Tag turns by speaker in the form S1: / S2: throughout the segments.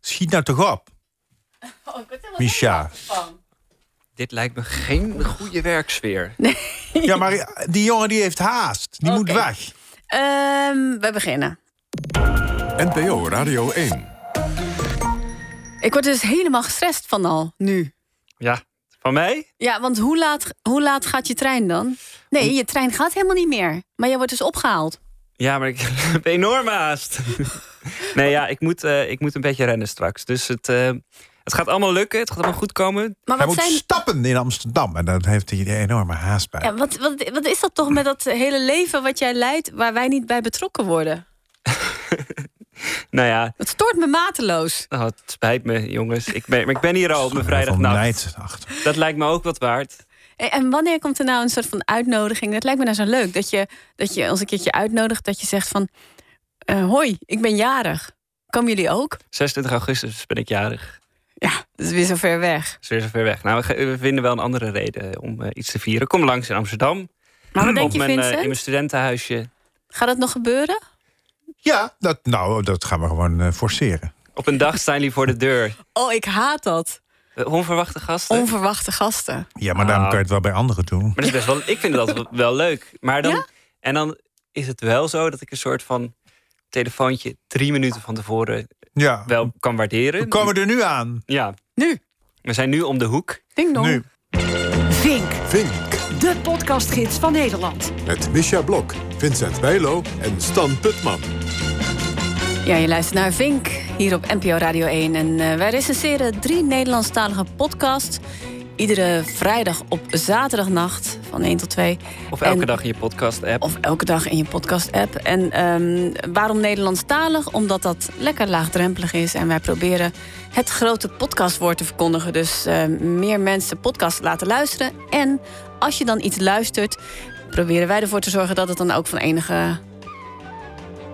S1: schiet nou toch op,
S2: Oh, ik word helemaal
S1: Misha.
S2: zenuwachtig van.
S3: Dit lijkt me geen goede werksfeer.
S1: Ja, maar eh, die jongen die heeft haast. Die moet
S2: Oké.
S1: weg.
S2: Ehm, we beginnen.
S4: NPO Radio 1.
S2: Ik word dus helemaal gestrest van al, nu.
S3: Ja, van mij?
S2: Ja, want hoe laat, hoe laat gaat je trein dan? Nee, je trein gaat helemaal niet meer. Maar jij wordt dus opgehaald.
S3: Ja, maar ik heb enorm haast. nee, ja, ik moet, eh, ik moet een beetje rennen straks. Dus het, eh, het gaat allemaal lukken. Het gaat allemaal goed komen.
S1: Hij
S2: Maar wat,
S1: moet
S2: zijn,
S3: dus-
S1: stappen in Amsterdam. En daar heeft hij een enorme haast bij.
S3: Oh,
S2: ja, wat, wat, wat is dat toch met dat hele leven wat jij leidt... waar wij niet bij betrokken worden?
S3: Nou ja,
S2: Dat stoort me mateloos.
S3: oh, het spijt me, jongens. Ik ben, maar ik ben hier al op mijn
S1: Van
S3: vrijdagnacht.
S1: Nijd achter.
S3: Dat lijkt me ook wat waard.
S2: En- Eh, En wanneer komt er nou een soort van uitnodiging? Dat lijkt me nou zo leuk. Dat je, dat je ons een keertje uitnodigt dat je zegt van... eh, hoi, ik ben jarig. Komen jullie ook?
S3: 26 augustus ben ik jarig.
S2: Ja, dat is weer zo ver weg.
S3: Dat is weer zo ver weg. Nou, we, ge- we vinden wel een andere reden om eh, iets te vieren. Kom langs in Amsterdam.
S2: Maar wat denk
S3: op
S2: je,
S3: mijn, eh, in
S2: Vincent?
S3: mijn studentenhuisje.
S2: Gaat dat nog gebeuren?
S1: Ja, dat, nou, dat gaan we gewoon eh, forceren.
S3: Op een dag staan jullie voor de deur.
S2: Oh, ik haat dat.
S3: Eh, Onverwachte gasten.
S2: Onverwachte gasten.
S1: Ja, maar daarom
S3: Ah.
S1: kan je het wel bij anderen doen.
S3: Maar dat is best wel, ik vind dat wel- wel leuk. Maar dan,
S2: Ja?
S3: En dan is het wel zo dat ik een soort van telefoontje drie minuten van tevoren
S1: Ja,
S3: wel kan
S1: we
S3: waarderen.
S1: komen er nu aan.
S3: Ja,
S2: Nu,
S3: we zijn nu om de hoek.
S2: ding dong.
S1: Nu.
S5: Vink,
S4: Vink.
S5: de podcastgids van Nederland.
S4: Met Misha Blok, Vincent Bijlo en Stan Putman.
S2: Ja, je luistert naar Vink hier op NPO Radio 1. En eh, wij recenseren drie Nederlandstalige podcasts. Iedere vrijdag op zaterdagnacht van 1 tot 2.
S3: Of elke
S2: En- Oh,
S3: dag in je podcast-app.
S2: Of elke dag in je podcast-app. En ehm, waarom Nederlandstalig? Omdat dat lekker laagdrempelig is. En wij proberen het grote podcastwoord te verkondigen. Dus ehm, meer mensen podcast laten luisteren. En als je dan iets luistert, proberen wij ervoor te zorgen dat het dan ook van enige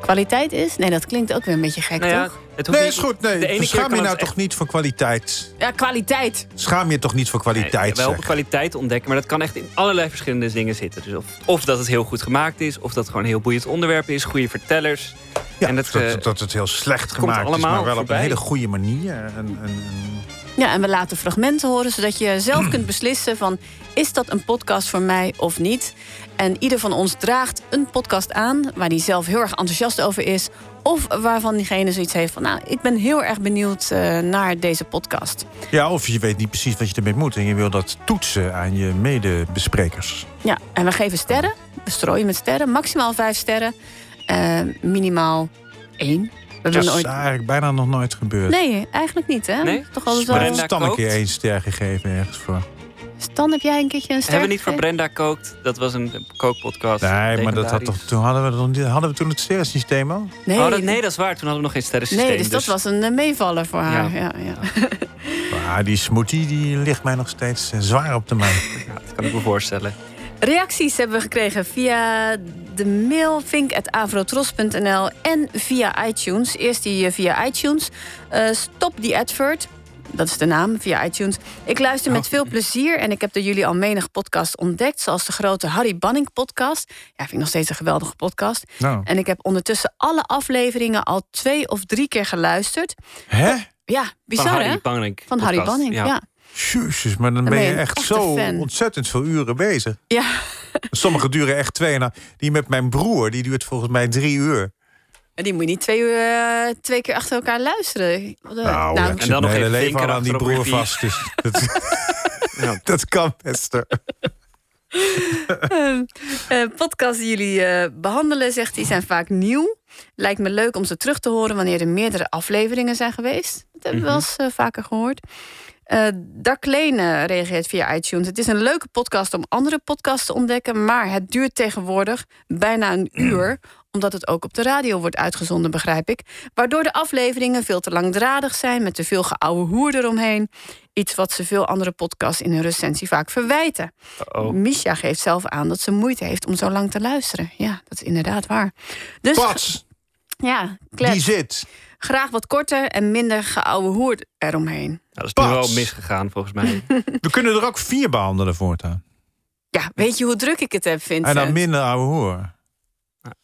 S2: kwaliteit is. Nee, dat klinkt ook weer een beetje gek,
S3: Nou ja,
S2: toch?
S3: het hoeft
S1: Nee,
S3: niet-
S1: is goed. Nee.
S3: de ene keer
S1: Schaam je
S3: kan
S1: nou
S3: het
S1: toch niet voor kwaliteit?
S2: Ja, kwaliteit.
S1: Schaam je toch niet voor
S3: Nee,
S1: kwaliteit?
S3: wel op
S1: zeg.
S3: kwaliteit ontdekken, maar dat kan echt in allerlei verschillende dingen zitten. Dus of, of dat het heel goed gemaakt is, of dat het gewoon een heel boeiend onderwerp is, goede vertellers.
S1: Ja,
S3: en dat,
S1: dat,
S3: eh,
S1: dat, het heel slecht
S3: komt
S1: gemaakt is, maar
S3: allemaal
S1: wel op een
S3: voorbij.
S1: hele goede manier. En, en, en-
S2: Ja, en we laten fragmenten horen, zodat je zelf kunt beslissen van... is dat een podcast voor mij of niet? En ieder van ons draagt een podcast aan... waar hij zelf heel erg enthousiast over is... of waarvan diegene zoiets heeft van... nou, ik ben heel erg benieuwd eh, naar deze podcast.
S1: Ja, of je weet niet precies wat je ermee moet. En je wil dat toetsen aan je medebesprekers.
S2: Ja, en we geven sterren. We strooien met sterren. Maximaal vijf sterren. eh, minimaal één. We
S1: Dat
S2: hebben
S1: is
S2: nooit...
S1: eigenlijk bijna nog nooit gebeurd.
S2: Nee, eigenlijk niet, hè?
S3: Nee?
S2: Toch altijd
S1: Maar
S2: wel...
S3: Brenda
S1: Stan een keer
S3: kookt.
S1: één ster gegeven ergens voor.
S2: Stan, heb jij een keertje een ster Eh,
S3: Hebben we niet voor
S2: gegeven?
S3: Brenda Kookt? Dat was een kookpodcast.
S1: Nee, maar dat had toch,
S3: Legendarisch.
S1: toen hadden we, nog niet- hadden we toen het sterrensysteem al?
S2: Nee,
S3: Oh, dat, nee, dat is waar. Toen hadden we nog geen sterrensysteem.
S2: Nee, dus dat was een eh, meevaller voor haar. Ja, ja,
S1: Ah, die smoothie die ligt mij nog steeds eh, zwaar op de maan.
S3: ja, dat kan ik me voorstellen.
S2: Reacties hebben we gekregen via de mail vink.avrotros.nl en via iTunes. Eerst die eh, via iTunes. Eh, Stop die advert. Dat is de naam, via iTunes. Ik luister met veel plezier en ik heb door jullie al menig podcast ontdekt... zoals de grote Harry Banning podcast. Ja, vind ik nog steeds een geweldige podcast.
S1: Nou,
S2: En ik heb ondertussen alle afleveringen al twee of drie keer geluisterd.
S1: hè?
S2: Ja, bizar
S3: Van
S2: hè?
S3: Harry Banning.
S2: Van Harry
S3: podcast.
S2: Banning, ja.
S1: Jezus, maar dan ben je
S2: een
S1: echt
S2: echte
S1: zo
S2: fan.
S1: ontzettend veel uren bezig.
S2: ja.
S1: Sommige duren echt twee. en een- die met mijn broer, die duurt volgens mij drie uur.
S2: En die moet je niet twee, uur, eh, twee keer achter elkaar luisteren. Wat, eh,
S1: Nou,
S2: nou,
S1: ik
S3: en
S1: zit
S3: dan
S1: mijn
S3: nog
S1: hele
S3: even
S1: leven
S3: vinken
S1: al aan die
S3: achterop
S1: broer
S3: repeat.
S1: vast. Dus dat,
S3: Ja.
S1: dat kan best. hoor.
S2: Dus eh, podcasts die jullie eh, behandelen, zegt hij, zijn vaak nieuw. Lijkt me leuk om ze terug te horen wanneer er meerdere afleveringen zijn geweest. Dat hebben we wel eens eh, vaker gehoord. Eh Dark Lane reageert via iTunes. Het is een leuke podcast om andere podcasts te ontdekken, maar het duurt tegenwoordig bijna een uur omdat het ook op de radio wordt uitgezonden, begrijp ik. Waardoor de afleveringen veel te langdradig zijn... met te veel geouwe hoer eromheen. Iets wat ze veel andere podcasts in hun recensie vaak verwijten.
S3: Oh.
S2: Misha geeft zelf aan dat ze moeite heeft om zo lang te luisteren. Ja, dat is inderdaad waar. Dus
S1: Pats,
S2: ja, klets.
S1: die zit.
S2: graag wat korter en minder geouwe hoer eromheen.
S3: Nou, dat is nu
S1: Pats.
S3: wel misgegaan, volgens mij.
S1: We kunnen er ook vier behandelen voortaan.
S2: Ja, weet je hoe druk ik het heb,
S1: En
S2: Vincent?
S1: dan minder ouwe hoor.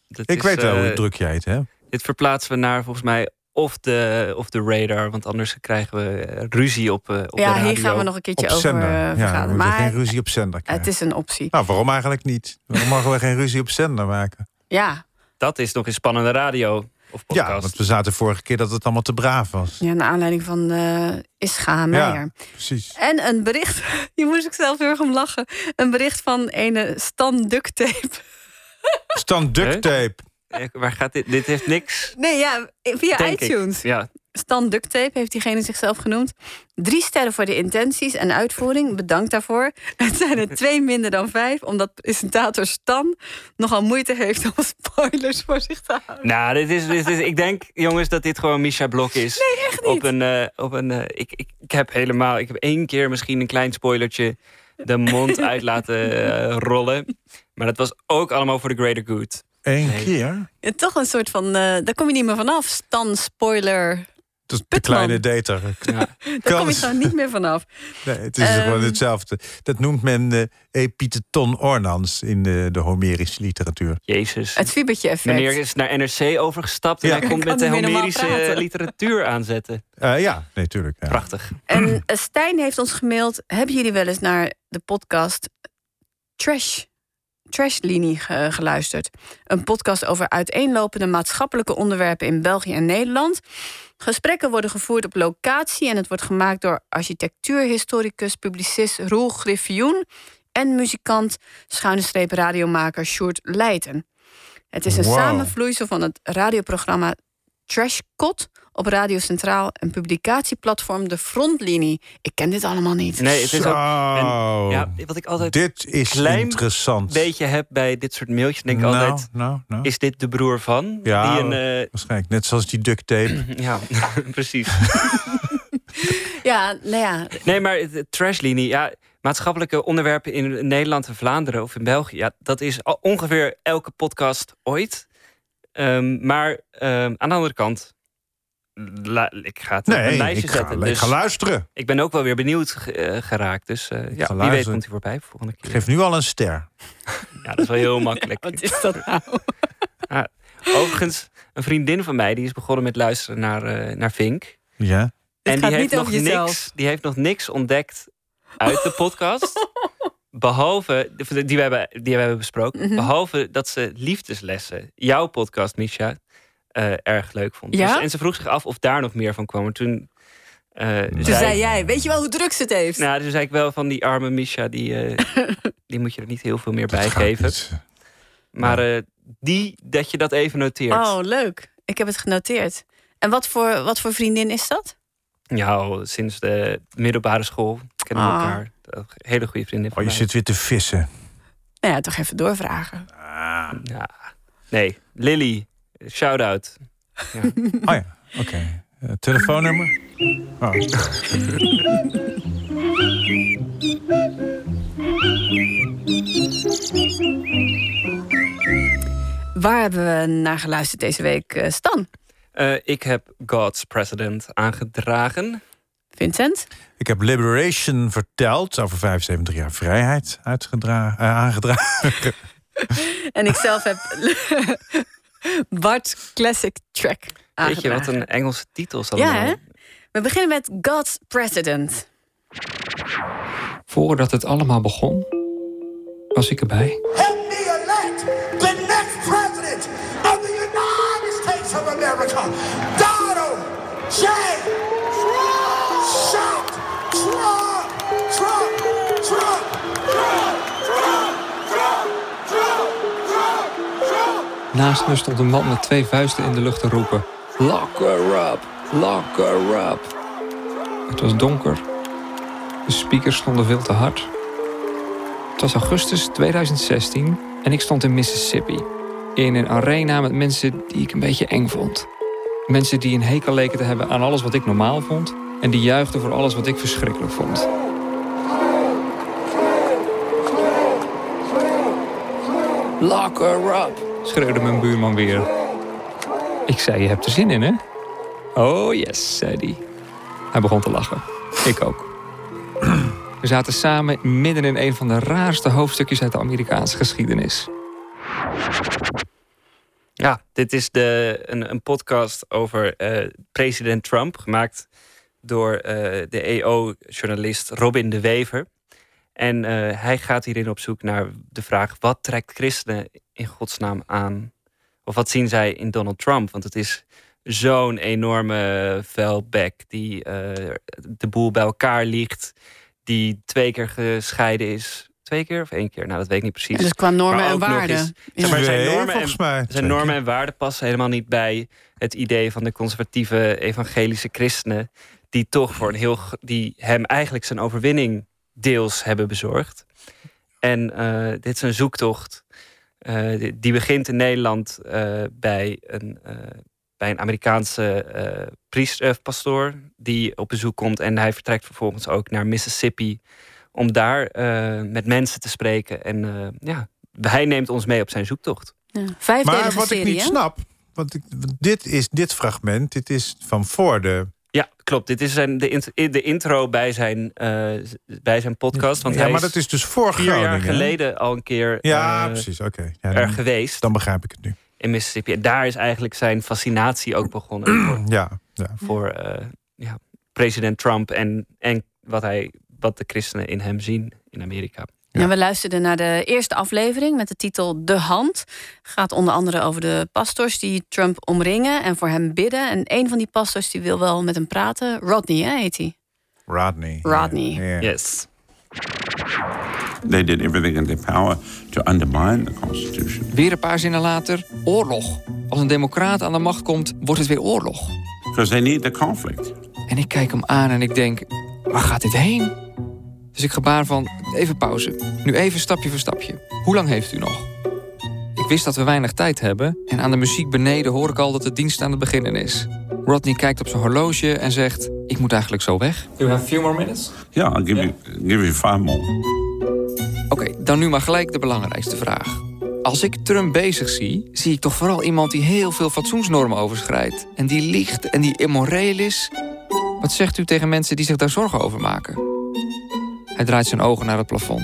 S3: Dat
S1: Ik
S3: is,
S1: weet wel
S3: eh,
S1: hoe druk jij het hebt.
S3: Dit verplaatsen we naar, volgens mij, of de, of de radar. Want anders krijgen we eh, ruzie op, eh, op de
S2: ja,
S3: radio.
S2: hier gaan we nog een keertje
S1: Op
S2: over
S1: zender.
S2: eh,
S1: ja, we
S2: vergaderen.
S1: moeten
S2: Maar
S1: geen ruzie op zender
S2: het
S1: krijgen.
S2: is een optie.
S1: Nou, waarom eigenlijk niet? Waarom mogen we geen ruzie op zender maken?
S2: Ja.
S3: Dat is nog eens spannende radio of
S1: Ja, want
S3: podcast.
S1: we zaten vorige keer dat het allemaal te braaf was.
S2: ja, naar aanleiding van eh Ischa Meijer.
S1: Precies.
S2: En een bericht, hier moest ik zelf heel erg om lachen. Een bericht van ene Stan Duct Tape.
S1: Stand duct tape.
S3: Eh, Waar gaat dit? Dit heeft niks.
S2: Nee, ja, via
S3: Denk ik.
S2: iTunes.
S3: Ja,
S2: Stan Duct Tape heeft diegene zichzelf genoemd. Drie sterren voor de intenties en uitvoering. Bedankt daarvoor. Het zijn er twee minder dan vijf, omdat presentator Stan nogal moeite heeft om spoilers voor zich te houden.
S3: Nou, dit is, dit is, ik denk, jongens, dat dit gewoon Misha Blok is. Nee, echt
S2: niet.
S3: Op een, eh, op een, eh, ik, ik, ik heb helemaal, ik heb één keer misschien een klein spoilertje de mond uit laten eh, rollen. Maar dat was ook allemaal voor de greater good.
S1: Eén
S3: Nee.
S1: keer.
S2: Ja, toch een soort van, eh, daar kom je niet meer vanaf. Stan spoiler.
S1: Dat is de
S2: Putman.
S1: kleine dater.
S3: Ja.
S2: Daar kom je
S1: Kans.
S2: gewoon niet meer vanaf.
S1: Nee, het is
S2: Ehm.
S1: gewoon hetzelfde. Dat noemt men eh epiteton ornans in eh, de Homerische literatuur.
S3: Jezus.
S2: Het fiebertje effect.
S3: Meneer is naar NRC overgestapt en
S1: Ja.
S3: hij komt
S2: Kan
S3: met de
S2: niet meer normaal
S3: Homerische
S2: praten.
S3: eh, literatuur aanzetten.
S1: Eh, ja, natuurlijk. ja.
S3: Prachtig.
S2: En eh, Stijn heeft ons gemaild. Hebben jullie wel eens naar de podcast Trash, Trashlinie ge- geluisterd? Een podcast over uiteenlopende maatschappelijke onderwerpen in België en Nederland. Gesprekken worden gevoerd op locatie en het wordt gemaakt door architectuurhistoricus, publicist Roel Griffioen en muzikant schuine streep radiomaker Sjoerd Leijten. Het is een
S1: Wow.
S2: samenvloeisel van het radioprogramma Trashcot op Radio Centraal en publicatieplatform De Frontlinie. Ik ken dit allemaal niet.
S3: Nee, het is
S1: Zo,
S3: ook,
S1: Oh.
S3: ja, wat ik altijd
S1: dit is
S3: klein
S1: interessant.
S3: een beetje heb bij dit soort mailtjes, denk ik
S1: nou,
S3: altijd,
S1: nou, nou.
S3: is dit de broer van?
S1: Ja.
S3: Die een,
S1: Waarschijnlijk net zoals die duct tape.
S3: eh, ja, precies.
S2: Ja, nou ja,
S3: Nee, maar het- het trashlinie, ja, maatschappelijke onderwerpen in Nederland en Vlaanderen of in België, ja, dat is al ongeveer elke podcast ooit. Ehm, maar ehm, aan de andere kant, la- ik ga het op
S1: Nee,
S3: een lijstje
S1: ik ga,
S3: zetten.
S1: ik
S3: dus
S1: ga luisteren.
S3: ik ben ook wel weer benieuwd ge- eh, geraakt. Dus eh, ja, wie weet
S1: luisteren.
S3: komt hij voorbij volgende
S1: Ik
S3: keer.
S1: geef nu al een ster.
S3: Ja, dat is wel heel makkelijk.
S2: wat is dat nou?
S3: Overigens, een vriendin van mij die is begonnen met luisteren naar, eh, naar Vink.
S1: Ja.
S2: Dit
S3: en
S2: gaat
S3: die heeft,
S2: niet
S3: nog
S2: over jezelf.
S3: niks, die heeft nog niks ontdekt uit de podcast. behalve, die we hebben, die we hebben besproken.
S2: Mhm.
S3: Behalve dat ze liefdeslessen, jouw podcast, Misha, eh, erg leuk vond.
S2: Ja?
S3: Dus- en ze vroeg zich af of daar nog meer van kwam. Maar toen, eh,
S2: Toen
S3: zei,
S2: zei jij, weet je wel hoe druk ze het heeft?
S3: nou, toen zei ik wel van die arme Misha, die, eh, die moet je er niet heel veel meer
S1: dat
S3: bij
S1: gaat
S3: geven.
S1: niet.
S3: Maar eh, die, dat je dat even noteert.
S2: Oh, leuk. Ik heb het genoteerd. En wat voor, wat voor vriendin is dat?
S3: Ja, al sinds de middelbare school kennen we
S2: Ah.
S3: elkaar. Een Hele goede vriendin van
S1: Oh, je
S3: mij.
S1: zit weer te vissen.
S2: Nou ja, toch even doorvragen.
S3: Ja. Nee, Lily, shout-out.
S1: Oh ja, oké. Eh, telefoonnummer? Oh.
S2: Waar hebben we naar geluisterd deze week, eh, Stan?
S3: Eh, ik heb God's President aangedragen.
S2: Vincent?
S1: Ik heb Liberation verteld over 75 jaar vrijheid uitgedra- eh, aangedragen.
S2: En ik zelf heb Bart Classic Track
S3: Weet je, wat
S2: aangedragen.
S3: een Engelse titel zal
S2: Ja, hè? We beginnen met God's President.
S6: Voordat het allemaal begon, was ik erbij.
S7: help me elect the next president of the United States of America, Donald J. Shout Trump, Trump, Trump, Trump, Trump, Trump, Trump, Trump, Trump.
S6: Naast me stond een man met twee vuisten in de lucht te roepen: Lock her up, lock her up. Het was donker. De speakers stonden veel te hard. Het was augustus 2016 en ik stond in Mississippi. In een arena met mensen die ik een beetje eng vond. Mensen die een hekel leken te hebben aan alles wat ik normaal vond. En die juichten voor alles wat ik verschrikkelijk vond. Lock her up, schreeuwde mijn buurman weer. Ik zei, je hebt er zin in, hè? Oh yes, zei hij. Hij begon te lachen. Ik ook. We zaten samen midden in een van de raarste hoofdstukjes uit de Amerikaanse geschiedenis.
S3: Ja, Ja, dit is de, een, een podcast over eh, president Trump, gemaakt door eh, de EO-journalist Robin de Wever. En eh, hij gaat hierin op zoek naar de vraag: wat trekt christenen in godsnaam aan? Of wat zien zij in Donald Trump? Want het is zo'n enorme eh, vuilbek die eh, de boel bij elkaar liegt, die twee keer gescheiden is. Twee keer of één keer? Nou, dat weet ik niet precies.
S2: Dus qua normen
S3: Maar
S2: en
S3: ook nog eens-
S2: waarden. Ja.
S3: Zeg maar, zijn
S1: Twee,
S3: normen en-
S1: volgens mij.
S3: zijn
S1: Twee.
S3: normen en waarden passen helemaal niet bij het idee van de conservatieve evangelische christenen. Die toch voor een heel. g- die hem eigenlijk zijn overwinning deels hebben bezorgd. En eh, dit is een zoektocht. eh, die- die begint in Nederland eh, bij, een, eh, bij een Amerikaanse eh priester, eh, pastoor. die op bezoek komt. En hij vertrekt vervolgens ook naar Mississippi. om daar eh, met mensen te spreken. En eh, ja, hij neemt ons mee op zijn zoektocht.
S2: Ja. Vijfdelige
S1: Maar wat
S2: serie,
S1: ik niet
S2: hè?
S1: snap, want ik, want dit is dit fragment, dit is van voor de.
S3: Ja, klopt. Dit is zijn, de, int- de intro bij zijn, eh, z- bij zijn podcast. Want
S1: ja,
S3: hij
S1: maar
S3: is
S1: dat is dus voor
S3: vier
S1: Groningen.
S3: jaar
S1: hè?
S3: geleden al een keer
S1: Ja,
S3: eh,
S1: precies. Oké. Ja,
S3: er
S1: dan,
S3: geweest
S1: dan begrijp ik het nu.
S3: in Mississippi. En daar is eigenlijk zijn fascinatie ook begonnen voor,
S1: Ja, ja.
S3: voor, eh, ja, president Trump en, en wat, hij, wat de christenen in hem zien in Amerika.
S1: Ja.
S2: Ja, we luisterden naar de eerste aflevering met de titel De Hand. Gaat onder andere over de pastors die Trump omringen en voor hem bidden. En een van die pastors die wil wel met hem praten. Rodney, hè, heet hij.
S1: Rodney.
S2: Rodney.
S1: Ja.
S3: Yes.
S8: They did everything in their power to undermine the Constitution.
S6: Weer een paar zinnen later, oorlog. Als een democraat aan de macht komt, wordt het weer oorlog.
S8: Because they need the conflict.
S6: En ik kijk hem aan en ik denk, waar gaat dit heen? Dus ik gebaar van, even pauze. Nu even stapje voor stapje. Hoe lang heeft u nog? Ik wist dat we weinig tijd hebben en aan de muziek beneden hoor ik al dat de dienst aan het beginnen is. Rodney kijkt op zijn horloge en zegt, ik moet eigenlijk zo weg. You have few more minutes?
S8: Yeah, I'll give you give you five more.
S6: Oké, dan nu maar gelijk de belangrijkste vraag. Als ik Trump bezig zie, zie ik toch vooral iemand die heel veel fatsoensnormen overschrijdt. En die liegt en die immoreel is. Wat zegt u tegen mensen die zich daar zorgen over maken? Hij draait zijn ogen naar het plafond.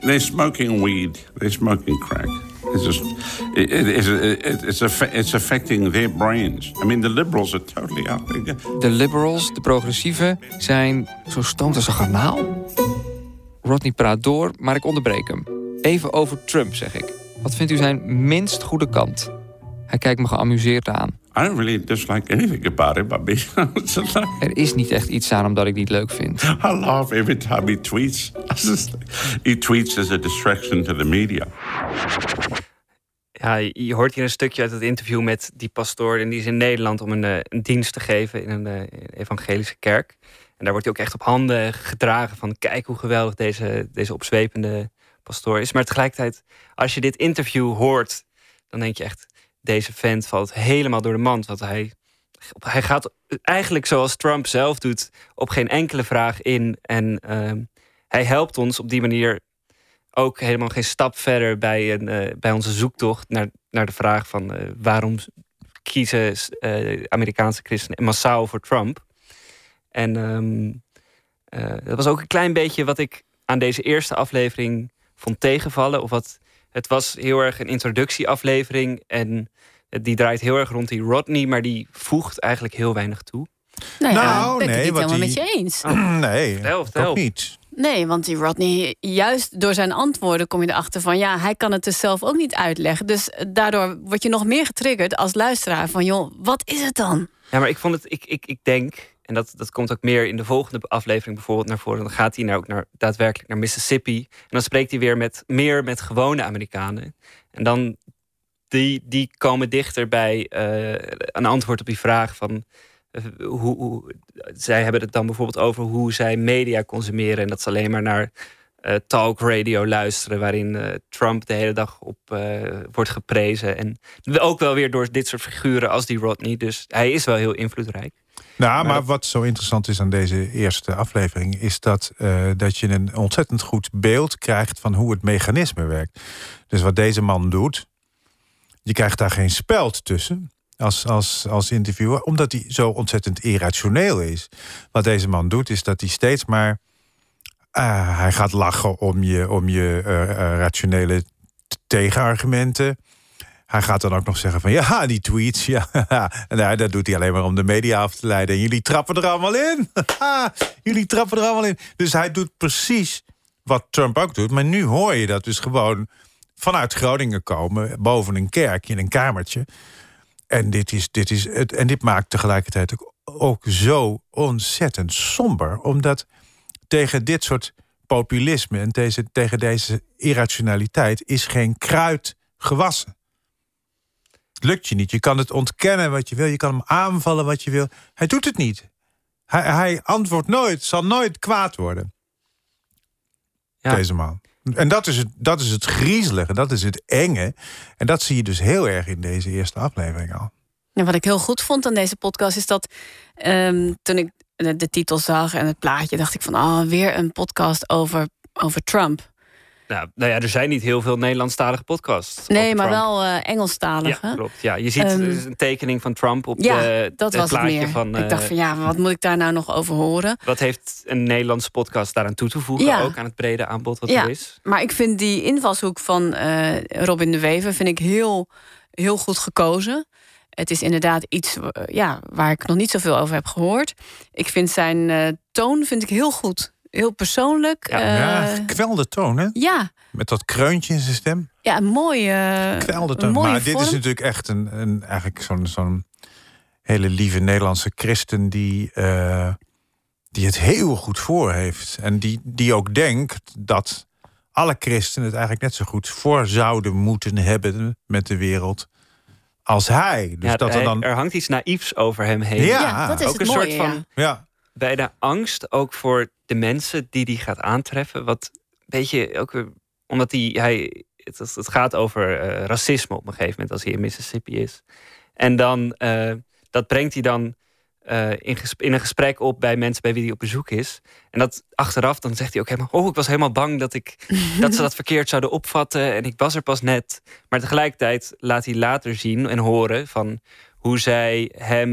S8: They're smoking weed. They're smoking crack. It's just it, it, it's, it, it's, affe- it's affecting their brains. I mean, the liberals are totally out. there.
S6: De liberals, de progressieven, zijn zo stoned als een garnaal. Rodney praat door, maar ik onderbreek hem. Even over Trump, zeg ik. Wat vindt u zijn minst goede kant? Hij kijkt me geamuseerd aan.
S8: I don't really dislike anything about him. I mean, it's like,
S6: Er is niet echt iets aan hem dat ik niet leuk vind.
S8: I laugh every time he tweets. I just, he tweets as a distraction to the media.
S3: Ja, je je hoort hier een stukje uit het interview met die pastoor. En die is in Nederland om een, eh, een dienst te geven in een eh, evangelische kerk. En daar wordt hij ook echt op handen gedragen van... kijk hoe geweldig deze, deze opzwepende pastoor is. Maar tegelijkertijd, als je dit interview hoort... dan denk je echt, deze vent valt helemaal door de mand. Want hij, hij gaat eigenlijk zoals Trump zelf doet... op geen enkele vraag in. En ehm, hij helpt ons op die manier ook helemaal geen stap verder bij, een, eh, bij onze zoektocht naar, naar de vraag van eh, waarom kiezen eh, Amerikaanse christenen massaal voor Trump. En ehm, eh, dat was ook een klein beetje wat ik aan deze eerste aflevering vond tegenvallen. Of wat, het was heel erg een introductieaflevering en eh, die draait heel erg rond die Rodney, maar die voegt eigenlijk heel weinig toe.
S2: Nou,
S1: Nou,
S2: ben ik
S1: nee,
S2: het niet
S1: want
S2: helemaal
S1: die-
S2: met je eens.
S1: Nee,
S3: Vertel,
S1: ik
S3: vertel.
S1: ook niet.
S2: Nee, want die Rodney, juist door zijn antwoorden kom je erachter van... ja, hij kan het dus zelf ook niet uitleggen. Dus daardoor word je nog meer getriggerd als luisteraar van... joh, wat is het dan?
S3: Ja, maar ik vond het, ik, ik, ik denk, en dat, dat komt ook meer in de volgende aflevering bijvoorbeeld naar voren. Dan gaat hij nou ook naar, daadwerkelijk naar Mississippi. En dan spreekt hij weer met, meer met gewone Amerikanen. En dan, die, die komen dichter bij eh, een antwoord op die vraag van... eh, hoe, hoe- zij hebben het dan bijvoorbeeld over hoe zij media consumeren. En dat ze alleen maar naar eh talk radio luisteren... waarin eh, Trump de hele dag op eh, wordt geprezen. En ook wel weer door dit soort figuren als die Rodney. Dus hij is wel heel invloedrijk.
S1: Nou,
S3: Maar
S1: maar
S3: dat-
S1: wat zo interessant is aan deze eerste aflevering, is dat, eh, dat je een ontzettend goed beeld krijgt van hoe het mechanisme werkt. Dus wat deze man doet, je krijgt daar geen speld tussen als, als, als interviewer, omdat hij zo ontzettend irrationeel is. Wat deze man doet, is dat hij steeds maar. ah, hij gaat lachen om je, om je eh, eh, rationele t- tegenargumenten. Hij gaat dan ook nog zeggen van ja, die tweets. Ja, en nou, dat doet hij alleen maar om de media af te leiden. En jullie trappen er allemaal in. jullie trappen er allemaal in. Dus hij doet precies wat Trump ook doet. Maar nu hoor je dat dus gewoon vanuit Groningen komen, boven een kerk in een kamertje. En dit, is, dit, is het, en dit maakt tegelijkertijd ook, ook zo ontzettend somber. Omdat tegen dit soort populisme en deze, tegen deze irrationaliteit is geen kruid gewassen. Het lukt je niet. Je kan het ontkennen wat je wil. Je kan hem aanvallen wat je wil. Hij doet het niet. Hij, hij antwoordt nooit, zal nooit kwaad worden.
S3: Ja.
S1: Deze man. En dat is, het, dat is het griezelige, dat is het enge. En dat zie je dus heel erg in deze eerste aflevering al.
S2: En wat ik heel goed vond aan deze podcast is dat ehm, toen ik de de titel zag en het plaatje, dacht ik van ah, weer een podcast over, over Trump.
S3: Nou, nou ja, er zijn niet heel veel Nederlandstalige podcasts.
S2: Nee,
S3: over
S2: maar
S3: Trump.
S2: wel eh Engelstalige.
S3: Ja, klopt. Ja, je ziet
S2: Ehm,
S3: dus een tekening van Trump op
S2: Ja,
S3: de,
S2: dat
S3: het
S2: was het
S3: plaatje
S2: meer.
S3: van...
S2: ik dacht
S3: eh,
S2: van ja, wat moet ik daar nou nog over horen?
S3: Wat heeft een Nederlandse podcast daaraan toe te voegen?
S2: Ja.
S3: Ook aan het brede aanbod wat
S2: Ja.
S3: er is.
S2: Maar ik vind die invalshoek van eh, Robin de Wever vind ik heel, heel goed gekozen. Het is inderdaad iets eh, ja, waar ik nog niet zoveel over heb gehoord. Ik vind zijn eh, toon vind ik heel goed. Heel persoonlijk.
S3: Ja,
S2: eh,
S1: ja, kwelde toon, hè?
S2: ja,
S1: Met dat kreuntje in zijn stem.
S2: ja, een mooie, eh,
S1: Kwelde
S2: een
S1: toon.
S2: mooie
S1: Maar dit is
S2: vorm.
S1: natuurlijk echt een, een, eigenlijk zo'n zo'n hele lieve Nederlandse christen die, eh, die het heel goed voor heeft. En die, die ook denkt dat alle christenen het eigenlijk net zo goed voor zouden moeten hebben met de wereld als hij. Dus
S3: Ja,
S1: dat er
S3: hij-
S1: dan.
S3: er hangt iets naïefs over hem heen.
S1: Ja,
S2: Ja, dat is
S3: ook
S2: het
S3: een
S2: mooie,
S3: soort van
S2: ja.
S1: Ja.
S3: bijna angst ook voor de mensen die die gaat aantreffen. Wat een beetje ook weer- omdat hij, hij het, het gaat over eh, racisme op een gegeven moment als hij in Mississippi is. En dan eh, dat brengt hij dan eh, in, gesp- in een gesprek op bij mensen bij wie hij op bezoek is. En dat achteraf dan zegt hij ook helemaal: Oh, ik was helemaal bang dat ik dat ze dat verkeerd zouden opvatten en ik was er pas net. Maar tegelijkertijd laat hij later zien en horen van hoe zij hem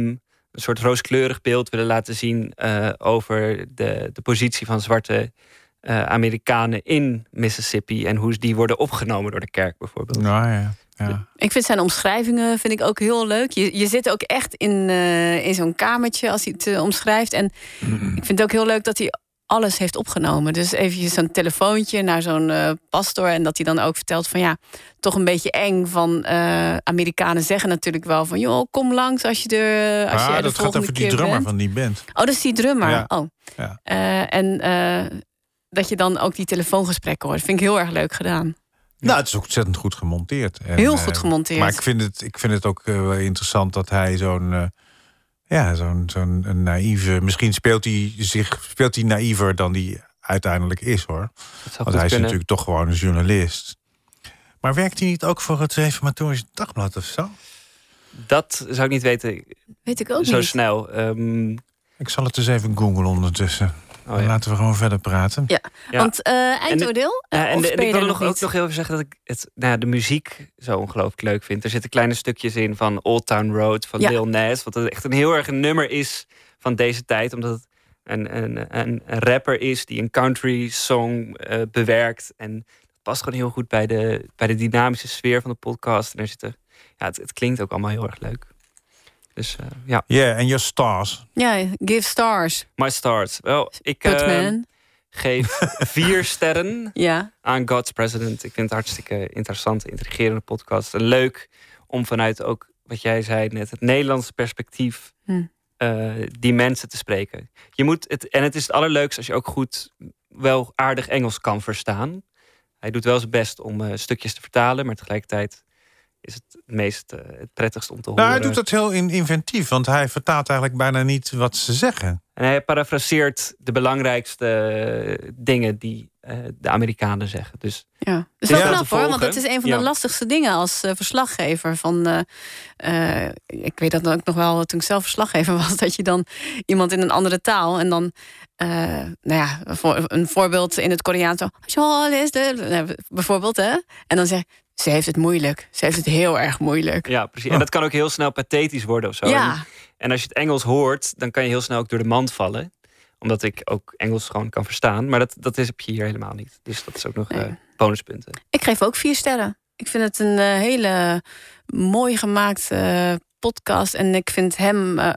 S3: een soort rooskleurig beeld willen laten zien eh, over de, de positie van zwarte eh, Amerikanen in Mississippi en hoe die worden opgenomen door de kerk bijvoorbeeld.
S1: Nou ja. ja.
S2: Ik vind zijn omschrijvingen vind ik ook heel leuk. Je, je zit ook echt in, eh, in zo'n kamertje als hij het eh, omschrijft. En ik vind het ook heel leuk dat hij alles heeft opgenomen. Dus eventjes zo'n telefoontje naar zo'n eh, pastoor. En dat hij dan ook vertelt van ja, toch een beetje eng. Van eh, Amerikanen zeggen natuurlijk wel van joh, kom langs als je er als je
S1: Ah,
S2: er de
S1: dat gaat
S2: volgende
S1: over die
S2: keer
S1: drummer
S2: bent.
S1: van die band.
S2: Oh, dat is die drummer.
S1: Ja.
S2: Oh.
S1: Ja.
S2: Eh, en eh, dat je dan ook die telefoongesprekken hoort. Vind ik heel erg leuk gedaan.
S1: Nou, het is ook ontzettend goed gemonteerd. En,
S2: Heel
S1: eh,
S2: goed gemonteerd.
S1: Maar ik vind het, ik vind het ook eh, wel interessant dat hij zo'n. eh, ja, zo'n zo'n een naïeve. Misschien speelt hij zich speelt hij naïver dan die uiteindelijk is hoor.
S3: Dat zou goed
S1: Want hij is
S3: kunnen.
S1: natuurlijk toch gewoon een journalist. Maar werkt hij niet ook voor het Reformatorisch Dagblad of zo?
S3: Dat zou ik niet weten
S2: Weet ik ook
S3: zo
S2: niet.
S3: snel. Ehm,
S1: Ik zal het dus even googlen ondertussen.
S3: oh
S1: En
S3: ja.
S1: laten we gewoon verder praten.
S2: Ja,
S3: Ja.
S2: want eh, eindoordeel?
S3: Ja, en,
S2: of
S3: de- en
S2: speel
S3: ik
S2: je
S3: wil
S2: er
S3: nog, ook
S2: niet?
S3: nog heel even zeggen dat ik het, nou ja, de muziek zo ongelooflijk leuk vind. Er zitten kleine stukjes in van Old Town Road van
S2: Ja.
S3: Lil Nas. Wat echt een heel erg een nummer is van deze tijd. Omdat het een, een, een, een rapper is die een country song eh, bewerkt. En dat past gewoon heel goed bij de, bij de dynamische sfeer van de podcast. En er zitten, ja, het, het klinkt ook allemaal heel erg leuk. Dus eh, ja,
S1: Ja, en Your Stars.
S2: Ja, Give Stars,
S3: My Stars. Wel, ik eh,
S2: Putman.
S3: geef vier sterren
S2: ja,
S3: aan God's President. Ik vind het hartstikke interessant, intrigerende podcast. En leuk om vanuit ook wat jij zei net, het Nederlandse perspectief,
S2: Hm.
S3: eh, die mensen te spreken. Je moet het, en het is het allerleukste als je ook goed, wel aardig Engels kan verstaan. Hij doet wel zijn best om eh, stukjes te vertalen, maar tegelijkertijd is het het meest eh, het prettigst om te horen.
S1: Nou, hij doet dat heel in- inventief, want hij vertaalt eigenlijk bijna niet wat ze zeggen.
S3: En hij parafraseert de belangrijkste eh, dingen die eh, de Amerikanen zeggen. Dus
S2: ja. Dat is
S3: Ja,
S2: wel
S3: te
S2: knap hoor,
S3: volgen.
S2: want dat is een van de
S3: Ja.
S2: lastigste dingen als eh, verslaggever. Van, eh, eh, ik weet dat ook nog wel toen ik zelf verslaggever was, dat je dan iemand in een andere taal en dan, eh, nou ja, voor, een voorbeeld in het Koreaans, zo, "Zo is de-" nou, bijvoorbeeld, hè? En dan zeg ze heeft het moeilijk, ze heeft het heel erg moeilijk.
S3: ja, precies. En dat kan ook heel snel pathetisch worden of zo. En
S2: Ja,
S3: En als je het Engels hoort, dan kan je heel snel ook door de mand vallen. Omdat ik ook Engels gewoon kan verstaan. Maar dat, dat is, heb je hier helemaal niet. Dus dat is ook nog
S2: Nee.
S3: eh, bonuspunten.
S2: ik geef ook vier sterren. Ik vind het een eh, hele mooi gemaakte eh, podcast. En ik vind hem eh,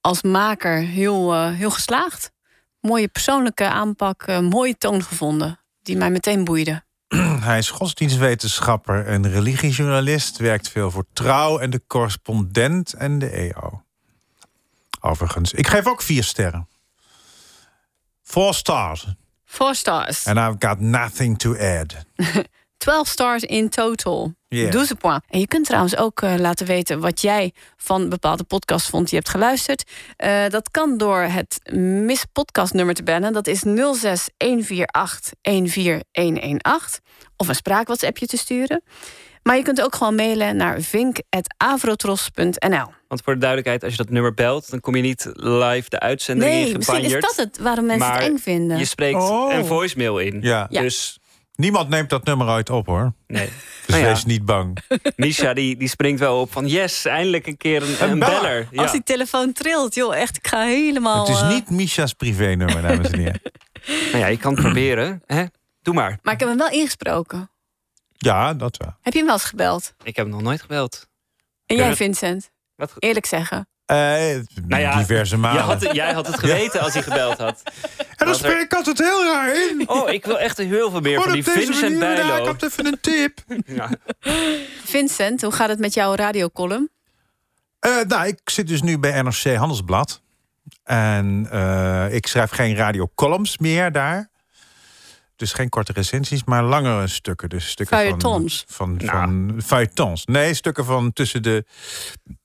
S2: als maker heel, eh, heel geslaagd. Mooie persoonlijke aanpak, eh, mooie toon gevonden. Die mij meteen boeide.
S1: Hij is godsdienstwetenschapper en religiejournalist. Werkt veel voor Trouw en de Correspondent en de EO. Overigens, ik geef ook vier sterren. Four stars.
S2: Four stars.
S1: And I've got nothing to add.
S2: 12 stars in total.
S1: Yeah.
S2: Doe ze point. En je kunt trouwens ook eh, laten weten wat jij van bepaalde podcasts vond die je hebt geluisterd. Eh, dat kan door het mis nummer te bellen. Dat is 06 148 14118. Of een spraakwhatsappje te sturen. Maar je kunt ook gewoon mailen naar vink.avrotros.nl.
S3: Want voor de duidelijkheid, als je dat nummer belt, dan kom je niet live de uitzending in
S2: Nee, misschien is
S3: gebanjerd.
S2: dat het waarom mensen
S3: Maar
S2: het eng vinden.
S3: Je spreekt
S1: Oh.
S3: een voicemail in.
S1: Ja.
S2: Ja.
S3: Dus
S1: Niemand neemt dat nummer uit op hoor.
S3: nee.
S1: Dus
S3: Nou ja,
S1: wees niet bang.
S3: Misha die, die springt wel op van yes, eindelijk een keer een, een
S1: beller.
S3: beller. Ja.
S2: Als die telefoon trilt, joh, echt, ik ga helemaal...
S1: Het is
S2: eh,
S1: niet Misha's privé-nummer, dames en heren.
S3: Nou ja, je kan het proberen. Hè? Doe maar.
S2: Maar ik heb hem wel ingesproken.
S1: Ja, dat wel.
S2: Heb je hem wel eens gebeld?
S3: Ik heb hem nog nooit gebeld.
S2: En jij,
S3: Ja.
S2: Vincent?
S3: Wat-
S2: Eerlijk zeggen.
S1: Eh,
S3: Nou ja,
S1: diverse malen.
S3: Jij had, het- jij had het geweten als hij gebeld had.
S1: en dan
S3: was er-
S1: spreek ik altijd heel raar in.
S3: Oh, ik wil echt heel veel meer
S1: Gewoon
S3: van
S1: op
S3: die
S1: deze
S3: Vincent
S1: manier, ja,
S3: Bijlo.
S1: ik had even een tip.
S3: Ja.
S2: Vincent, hoe gaat het met jouw radiocolumn?
S1: Eh, nou, ik zit dus nu bij NRC Handelsblad. En eh, ik schrijf geen radiocolumns meer daar. Dus geen korte recensies, maar langere stukken. Dus stukken
S2: Feuilletons.
S1: Van, van,
S3: Nou.
S1: van feuilletons. Nee, stukken van tussen de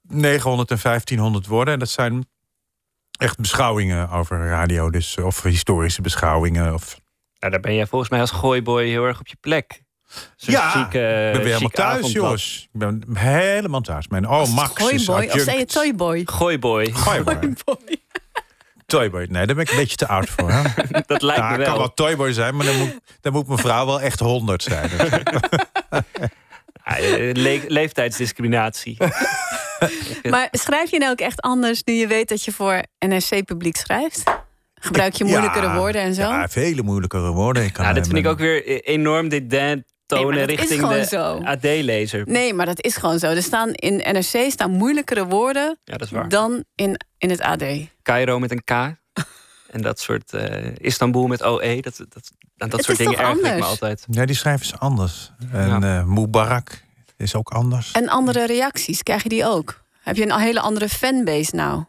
S1: 900 en 1500 woorden. En dat zijn echt beschouwingen over radio. Dus, eh, of historische beschouwingen. Of,
S3: Nou, daar ben jij volgens mij als gooiboy heel erg op je plek. Zo'n
S1: Ja,
S3: chique,
S1: ik ben weer helemaal
S3: Eh, chique
S1: thuis,
S3: avondblad.
S1: jongens. Ik ben helemaal thuis. Mijn oom Oh, Max is
S2: Toyboy, of zei je
S1: adjunct.
S2: Toyboy?
S3: Gooiboy,
S1: Toyboy. Toyboy. Nee, daar ben ik een beetje te oud voor. Hè?
S3: dat lijkt
S1: Ja,
S3: me
S1: ik kan
S3: wel.
S1: wel Toyboy zijn, maar dan moet, dan moet mijn vrouw wel echt 100 zijn.
S3: Ah, eh, le- leeftijdsdiscriminatie.
S2: Maar schrijf je nou ook echt anders nu je weet dat je voor NRC-publiek schrijft? Gebruik je moeilijkere
S1: Ja,
S2: woorden en zo?
S1: Ja, vele moeilijkere woorden. Ik kan
S3: Nou, dat
S1: eh,
S3: vind ik
S1: mijn-
S3: ook weer eh, enorm dit
S2: Nee, maar
S3: tonen
S2: dat is
S3: richting
S2: gewoon
S3: de
S2: zo.
S3: AD-lezer.
S2: Nee, maar dat is gewoon zo. Er staan in NRC staan moeilijkere woorden
S3: Ja, dat is waar.
S2: dan in, in het AD.
S3: Cairo met een K. En dat soort eh, Istanbul met OE. Dat, dat, aan dat
S2: is
S3: soort dingen
S2: toch
S3: erg ik me
S2: anders?
S3: altijd.
S1: Ja, die schrijven ze anders. En eh, Mubarak is ook anders.
S2: En andere reacties, krijg je die ook? Heb je een hele andere fanbase nou?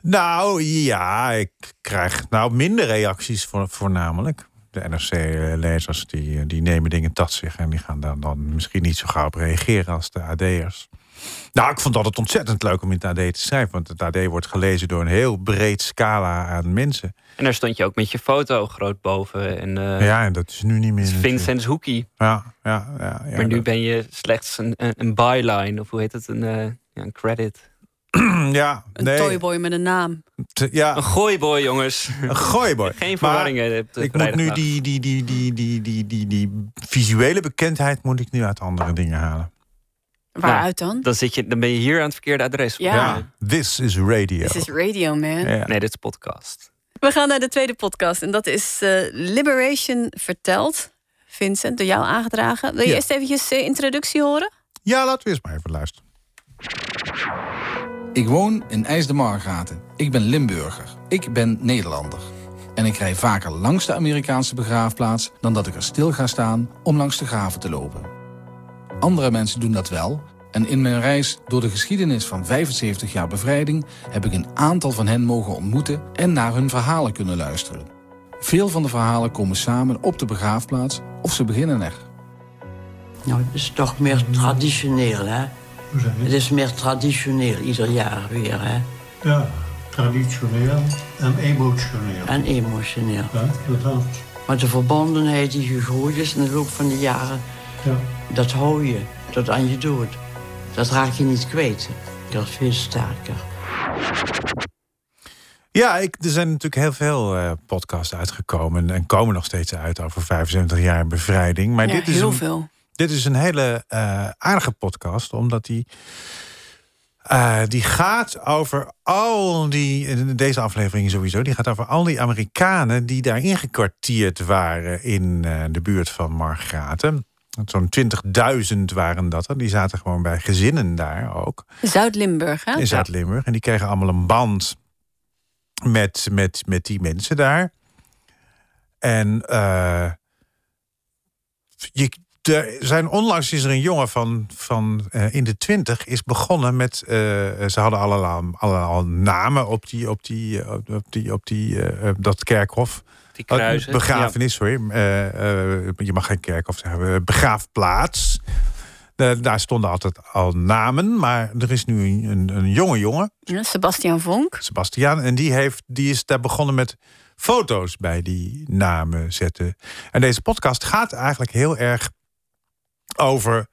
S1: Nou ja, ik krijg nou minder reacties voor, voornamelijk. De NRC-lezers die, eh, die nemen dingen tot zich en die gaan daar dan misschien niet zo gauw op reageren als de AD'ers. Nou, ik vond dat het ontzettend leuk om in het AD te schrijven, want het AD wordt gelezen door een heel breed scala aan mensen.
S3: En daar stond je ook met je foto groot boven. En eh,
S1: Ja, en dat is nu niet meer. natuurlijk.
S3: Vincent's Hoekie.
S1: Ja, ja, ja. ja,
S3: maar nu
S1: dat-
S3: ben je slechts een, een, een byline. Of hoe heet het? Een, eh, ja, een credit.
S1: Mm, ja,
S2: Een
S1: nee,
S2: Toyboy met een naam.
S1: t- ja,
S3: Een gooiboy, jongens.
S1: een gooiboy.
S3: Geen
S1: Maar-
S3: verwarringen. op de
S1: Ik moet nu
S3: vrijdagnacht.
S1: die, die, die, die, die, die, die, die visuele bekendheid moet ik nu uit andere dingen halen.
S2: Waaruit dan?
S3: Dan, zit je, dan ben je hier aan het verkeerde adres.
S2: Ja.
S1: This is radio.
S2: Dit is radio, man.
S1: Ja.
S3: Nee, dit is podcast.
S2: We gaan naar de tweede podcast en dat is eh, Liberation Verteld. Vincent, door jou aangedragen. Wil je
S1: Ja.
S2: eerst eventjes de introductie horen?
S1: ja, laten we eerst maar even luisteren.
S9: Ik woon in IJsdemargaten. Ik ben Limburger. Ik ben Nederlander. En ik rij vaker langs de Amerikaanse begraafplaats dan dat ik er stil ga staan om langs de graven te lopen. Andere mensen doen dat wel. En in mijn reis door de geschiedenis van 75 jaar bevrijding heb ik een aantal van hen mogen ontmoeten en naar hun verhalen kunnen luisteren. Veel van de verhalen komen samen op de begraafplaats of ze beginnen er.
S10: Nou, het is toch meer traditioneel, hè? Het is meer traditioneel ieder jaar weer, hè?
S11: Ja, traditioneel en emotioneel.
S10: En emotioneel.
S11: Ja, inderdaad.
S10: Maar de verbondenheid die gegroeid is in de loop van de jaren,
S11: Ja.
S10: dat hou je tot aan je dood. Dat raak je niet kwijt. Dat is veel sterker.
S1: Ja, ik, er zijn natuurlijk heel veel eh, podcasts uitgekomen en komen nog steeds uit over 75 jaar bevrijding. Maar
S2: ja,
S1: dit, is
S2: heel
S1: een,
S2: veel.
S1: dit is een hele eh, aardige podcast, omdat die, eh, die gaat over al die, eh, deze aflevering sowieso, die gaat over al die Amerikanen die daar ingekwartierd waren in eh, de buurt van Margraten. Want Zo'n 20.000 waren dat er. Die zaten gewoon bij gezinnen daar ook.
S2: Zuid-Limburg, hè?
S1: In Zuid-Limburg. En die kregen allemaal een band met, met, met die mensen daar. En eh, je, er zijn onlangs is er een jongen van, van eh, in de twintig is begonnen met. eh, ze hadden allemaal, allemaal namen op, die, op, die, eh, op, die, op die, eh, op dat kerkhof.
S3: Die kruisen,
S1: Oh, begrafenis, sorry. Eh, eh, je mag geen kerkhof zeggen. Eh, Begraafplaats. Eh, daar stonden altijd al namen, maar er is nu een, een, een jonge jongen.
S2: Ja, Sebastian Vonk.
S1: Sebastiaan. En die, heeft, die is daar begonnen met foto's bij die namen zetten. En deze podcast gaat eigenlijk heel erg over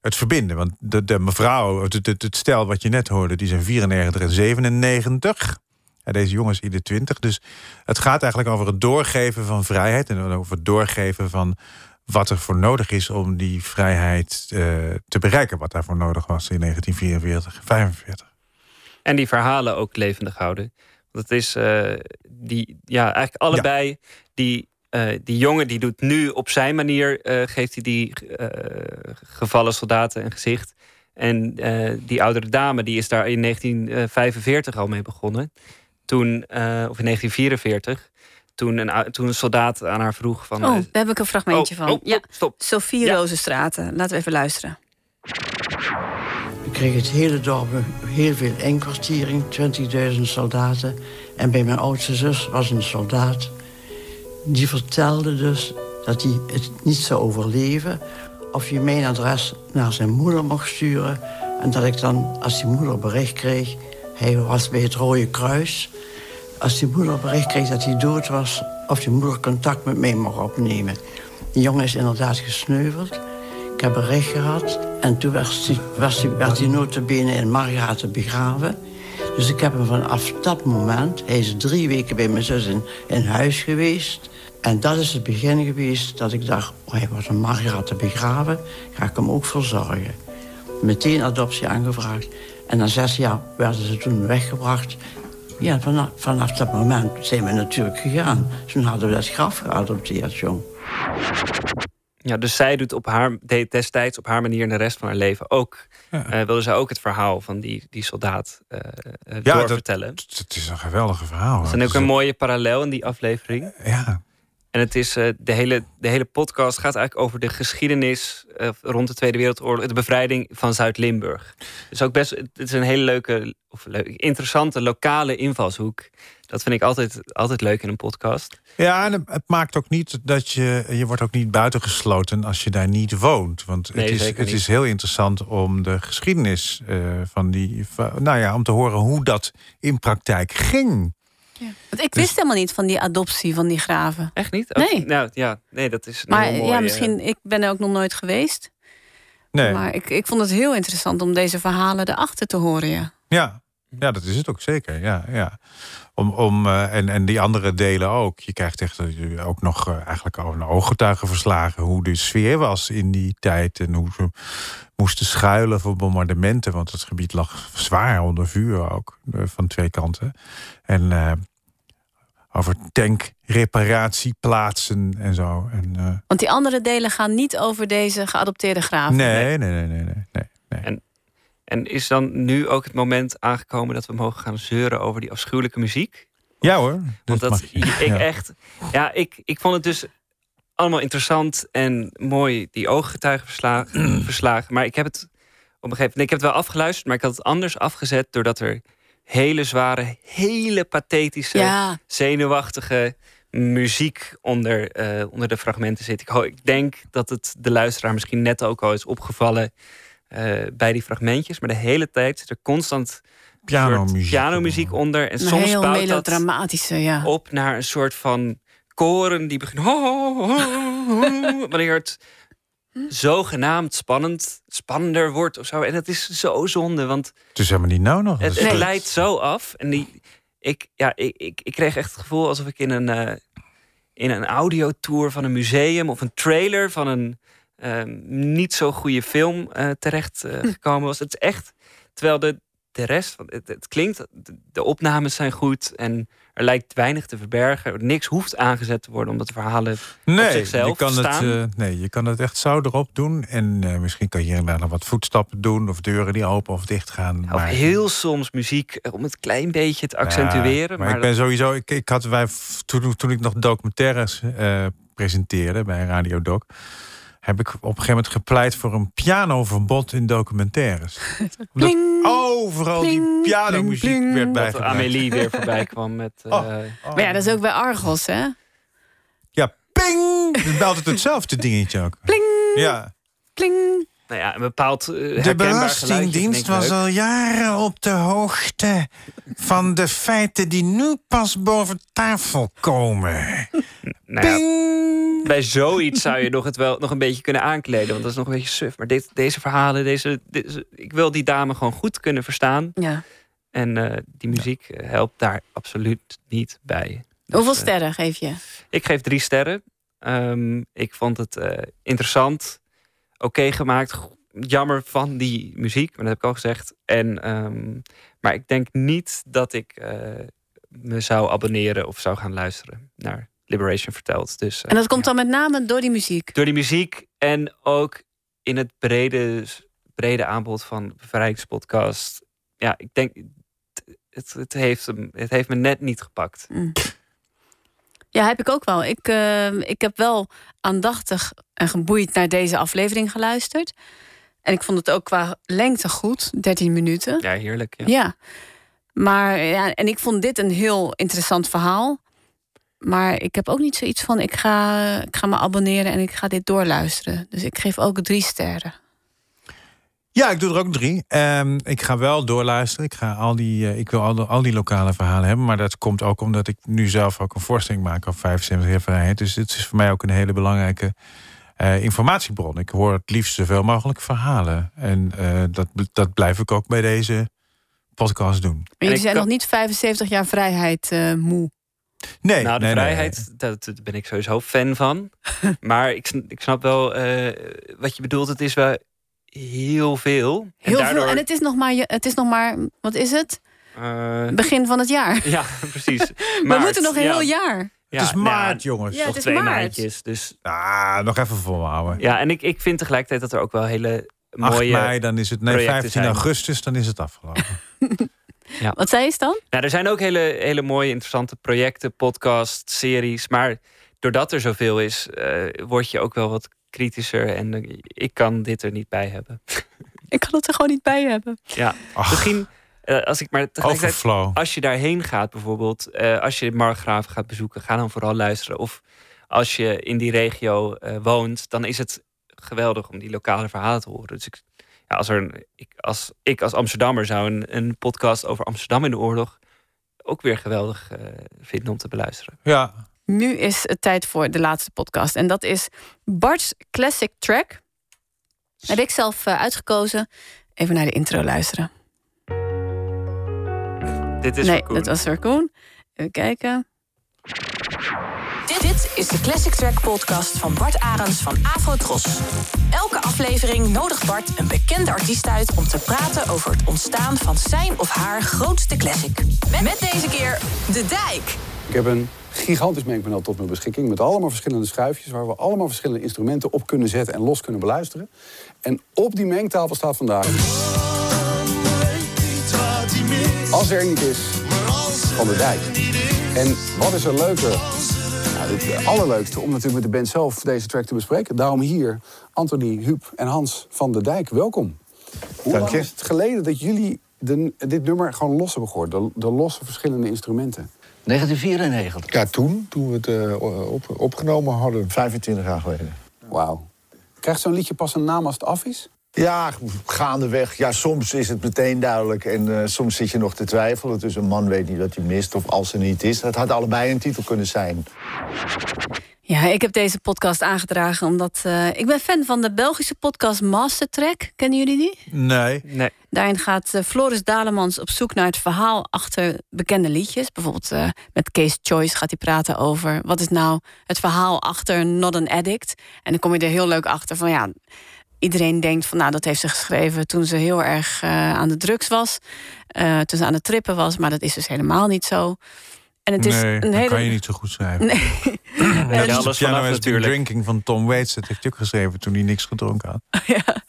S1: het verbinden. Want de, de mevrouw, het, het, het stel wat je net hoorde, die zijn 94 en 97. En deze jongens in de 20. Dus het gaat eigenlijk over het doorgeven van vrijheid. En over het doorgeven van wat er voor nodig is om die vrijheid eh, te bereiken. Wat daarvoor nodig was in 1944, 45.
S3: En die verhalen ook levendig houden. Want het is eh, die, ja, eigenlijk allebei. Die, eh, die jongen die doet nu op zijn manier, eh, geeft hij die eh, gevallen soldaten een gezicht. En eh, die oudere dame die is daar in 1945 al mee begonnen. Toen, eh, of in 1944. Toen een, ou- toen een soldaat aan haar vroeg van...
S2: Oh,
S3: eh,
S2: daar heb ik een fragmentje
S3: Oh,
S2: van.
S3: oh,
S2: ja.
S3: stop.
S2: Sophie Rozenstraten. Laten we even luisteren.
S10: We kregen het hele dorp heel veel inkwartiering, 20.000 soldaten. En bij mijn oudste zus was een soldaat. Die vertelde dus dat hij het niet zou overleven. Of je mijn adres naar zijn moeder mocht sturen. En dat ik dan, als die moeder bericht kreeg... Hij was bij het Rode Kruis. Als die moeder bericht kreeg dat hij dood was... of die moeder contact met mij mocht opnemen. De jongen is inderdaad gesneuveld. Ik heb bericht gehad. En toen werd hij, was hij, werd hij notabene in Margaten begraven. Dus ik heb hem vanaf dat moment... Hij is drie weken bij mijn zus in, in huis geweest. En dat is het begin geweest dat ik dacht... Oh, hij wordt in Margaten begraven. Ga ik hem ook verzorgen. Meteen adoptie aangevraagd. En na zes jaar werden ze toen weggebracht. Ja, vanaf, vanaf dat moment zijn we natuurlijk gegaan. Toen hadden we dat graf geadopteerd, jong.
S3: Ja, dus zij doet op haar, deed destijds op haar manier in de rest van haar leven ook. eh, wilde zij ook het verhaal van die, die soldaat eh, eh,
S1: Ja, dat-
S3: doorvertellen.
S1: Het het is een geweldige verhaal.
S3: Er
S1: hoor.
S3: is dan ook
S1: Het is
S3: een mooie parallel in die aflevering.
S1: Ja.
S3: En het is, eh, de, hele, de hele podcast gaat eigenlijk over de geschiedenis eh, rond de Tweede Wereldoorlog, de bevrijding van Zuid-Limburg. Dus ook best, het is een hele leuke, of leuk, interessante lokale invalshoek. Dat vind ik altijd, altijd leuk in een podcast.
S1: Ja, en het maakt ook niet dat je. Je wordt ook niet buitengesloten als je daar niet woont. Want het,
S3: Nee,
S1: is,
S3: zeker
S1: het
S3: niet.
S1: is heel interessant om de geschiedenis eh, van die. Van, nou ja, om te horen hoe dat in praktijk ging.
S2: Want ik wist helemaal niet van die adoptie van die graven.
S3: Echt niet?
S2: Nee.
S3: Nou ja, nee, dat is een
S2: Maar
S3: heel mooi,
S2: ja,
S3: eh,
S2: misschien, ik ben er ook nog nooit geweest.
S1: Nee.
S2: Maar ik, ik vond het heel interessant om deze verhalen erachter te horen. Ja.
S3: Mhm.
S1: Ja, ja dat is het ook zeker. Ja, ja. Om, om, eh, en, en die andere delen ook. Je krijgt echt eh, ook nog eh, eigenlijk al een ooggetuigenverslagen hoe de sfeer was in die tijd en hoe ze moesten schuilen voor bombardementen, want het gebied lag zwaar onder vuur ook eh, van twee kanten. En eh, over tankreparatieplaatsen en zo. En, eh,
S2: Want die andere delen gaan niet over deze geadopteerde graven.
S1: nee, nee, nee, nee, nee. nee.
S3: En is dan nu ook het moment aangekomen dat we mogen gaan zeuren over die afschuwelijke muziek?
S1: Ja hoor.
S3: Want dat,
S1: mag je.
S3: ik
S1: Ja.
S3: echt, ja, ik, ik vond het dus allemaal interessant en mooi, die ooggetuigenverslagen. verslagen. Maar ik heb het op een gegeven moment, nee, ik heb het wel afgeluisterd, maar ik had het anders afgezet doordat er hele zware, hele pathetische,
S2: Ja.
S3: zenuwachtige muziek onder, eh, onder de fragmenten zit. Ik, ho- ik denk dat het de luisteraar misschien net ook al is opgevallen eh, bij die fragmentjes, maar de hele tijd zit er constant
S1: Pianomuziek
S3: soort pianomuziek onder en
S2: Een Oh.
S3: soms
S2: heel
S3: bouwt dat
S2: melodramatische, ja.
S3: op naar een soort van koren die begint. Ho, ho, ho, ho, ho, wanneer het
S2: Hm?
S3: zogenaamd spannend, spannender wordt of zo. En dat is zo zonde, want
S1: Het is helemaal niet nou nog.
S3: het,
S1: Dat is
S3: het
S1: leuk.
S3: leidt zo af. En die, ik, ja, ik, ik, ik kreeg echt het gevoel alsof ik in een, eh in een audiotour van een museum of een trailer van een eh, niet zo goede film eh, terecht eh, gekomen was. Het is echt, terwijl de, de rest van het, het klinkt, de, de opnames zijn goed en er Er lijkt weinig te verbergen. Niks hoeft aangezet te worden, omdat de verhalen op
S1: Nee,
S3: zichzelf
S1: je kan het,
S3: staan.
S1: eh, nee, je kan het echt zout erop doen. En eh, misschien kan je hier en daar nog wat voetstappen doen. Of deuren die open of dicht gaan.
S3: Of
S1: Maar,
S3: heel soms muziek eh, om het klein beetje te
S1: Ja,
S3: accentueren.
S1: maar, ik ben sowieso. Ik, ik had wij, f- toen, toen ik nog documentaires eh, presenteerde bij Radio Doc. Heb ik op een gegeven moment gepleit voor een pianoverbod in documentaires. Omdat overal die pianomuziek werd
S3: dat
S1: bijgebracht.
S3: Amélie weer voorbij kwam met... eh,
S1: Oh.
S2: Maar ja, dat is ook bij Argos, hè?
S1: Ja, ping! Het is altijd hetzelfde dingetje ook. Pling! Ja.
S2: Pling!
S3: Nou ja, een bepaald eh,
S1: De
S3: herkenbaar geluidje
S1: Belastingdienst
S3: vind ik
S1: was
S3: leuk.
S1: al jaren op de hoogte van de feiten die nu pas boven tafel komen.
S3: Nou ja, bij zoiets zou je nog het wel nog een beetje kunnen aankleden. Want dat is nog een beetje suf. Maar dit, deze verhalen, deze, deze- ik wil die dame gewoon goed kunnen verstaan.
S2: Ja.
S3: En eh, die muziek eh, helpt daar absoluut niet bij. Dus, eh,
S2: Hoeveel sterren geef je?
S3: Ik geef drie sterren. Ehm, ik vond het eh, interessant. Oké gemaakt. Go- Jammer van die muziek, maar dat heb ik al gezegd. En, ehm, maar ik denk niet dat ik eh, me zou abonneren of zou gaan luisteren naar Liberation verteld. Dus, eh,
S2: En dat komt dan met name door die muziek.
S3: door die muziek en ook in het brede, brede aanbod van Bevrijdingspodcast. Ja, ik denk, het- het, het, heeft, hem- het heeft me net niet gepakt.
S2: Ja, heb ik ook wel. Ik, eh, ik heb wel aandachtig en geboeid naar deze aflevering geluisterd. En ik vond het ook qua lengte goed, 13 minuten.
S3: Ja, heerlijk.
S2: Ja. Maar ja, en ik vond dit een heel interessant verhaal. Maar ik heb ook niet zoiets van: ik ga, ik ga me abonneren en ik ga dit doorluisteren. Dus ik geef ook drie sterren.
S1: Ja, ik doe er ook drie. Ehm, ik ga wel doorluisteren. Ik, ga al die, eh, ik wil al, al die lokale verhalen hebben. Maar dat komt ook omdat ik nu zelf ook een voorstelling maak op 75 jaar vrijheid. Dus dit is voor mij ook een hele belangrijke eh, informatiebron. Ik hoor het liefst zoveel mogelijk verhalen. En eh, dat, dat blijf ik ook bij deze podcast doen.
S2: En jullie zijn nog niet 75 jaar vrijheid eh, moe.
S1: Nee,
S3: nou, de
S1: nee, nee.
S3: vrijheid, Dat, dat ben ik sowieso fan van. maar ik, sn- ik snap wel eh, wat je bedoelt. Het is wel heel veel.
S2: Heel
S3: daardoor-
S2: veel. En het is, nog maar, je- het is nog maar, wat is het?
S3: eh,
S2: Begin van het jaar.
S3: Ja, precies.
S2: We
S3: Maart,
S2: moeten nog een
S3: ja.
S2: heel jaar.
S3: Ja,
S1: het is
S3: nou ja,
S1: maart, jongens.
S2: Ja,
S3: nog
S2: het is
S3: twee
S2: maart.
S3: maandjes. Dus
S1: Ah, nog even volhouden.
S3: Ja, en ik, ik vind tegelijkertijd dat er ook wel hele
S1: 8
S3: mooie.
S1: mei, dan is het... Nee,
S3: projecten
S1: 15
S3: zijn.
S1: augustus, dan is het afgelopen.
S2: Wat zei je dan?
S3: Nou, er zijn ook hele, hele mooie, interessante projecten, podcasts, series. Maar doordat er zoveel is, eh, word je ook wel wat kritischer. En eh, ik kan dit er niet bij hebben.
S2: Ik kan het er gewoon niet bij hebben.
S3: Ja, misschien eh, als ik maar tegelijkertijd.
S1: Overflow.
S3: Als je daarheen gaat bijvoorbeeld, eh, als je Margraaf gaat bezoeken, ga dan vooral luisteren. Of als je in die regio eh, woont, dan is het geweldig om die lokale verhalen te horen. Dus ik, ja, als, er een, ik, als ik als Amsterdammer zou een, een podcast over Amsterdam in de oorlog ook weer geweldig eh, vinden om te beluisteren.
S1: Ja.
S2: Nu is het tijd voor de laatste podcast. En dat is Bart's Classic Track. Heb ik zelf eh, uitgekozen. Even naar de intro luisteren.
S3: Dit is
S2: nee,
S3: voor Koen.
S2: dat was Sarkoon. Even kijken.
S12: Dit, dit is de Classic Track podcast van Bart Arends van Afrotros. Elke aflevering nodigt Bart een bekende artiest uit om te praten over het ontstaan van zijn of haar grootste classic. Met, met deze keer De Dijk.
S13: Ik heb een gigantisch mengpaneel tot mijn beschikking... met allemaal verschillende schuifjes... waar we allemaal verschillende instrumenten op kunnen zetten... en los kunnen beluisteren. En op die mengtafel staat vandaag... Als er niet is, van de dijk. En wat is er leuker? Nou, het allerleukste om natuurlijk met de band zelf deze track te bespreken. Daarom hier Anthony, Huub en Hans van de Dijk. Welkom. Hoe
S14: Dank
S13: lang
S14: je.
S13: is het geleden dat jullie de- dit nummer gewoon los hebben gehoord? De, de losse verschillende instrumenten.
S14: 1994. Ja, toen, toen we het eh, op, opgenomen hadden, 25 jaar geleden.
S13: Wauw. Krijgt zo'n liedje pas een naam als het af is?
S14: Ja, gaandeweg. Ja, soms is het meteen duidelijk en eh, soms zit je nog te twijfelen. Dus een man weet niet wat hij mist of als er niet is. Dat had allebei een titel kunnen zijn.
S2: Ja, ik heb deze podcast aangedragen omdat eh, ik ben fan van de Belgische podcast Mastertrack. Kennen jullie die?
S1: Nee.
S3: Nee.
S2: Daarin gaat eh, Floris Dalemans op zoek naar het verhaal achter bekende liedjes. Bijvoorbeeld eh, met Kees Choice gaat hij praten over wat is nou het verhaal achter Not an Addict. En dan kom je er heel leuk achter van ja, iedereen denkt van nou dat heeft ze geschreven toen ze heel erg eh, aan de drugs was. eh, toen ze aan het trippen was, maar dat is dus helemaal niet zo. En En het is
S1: nee,
S2: een
S1: dat
S2: hele...
S1: kan je niet zo goed schrijven.
S2: Nee.
S1: Net
S2: Ja,
S1: als
S2: alles
S1: de piano
S2: vanaf
S1: is
S2: natuurlijk.
S1: Drinking van Tom Waits. Dat heeft hij ook geschreven toen hij niks gedronken had.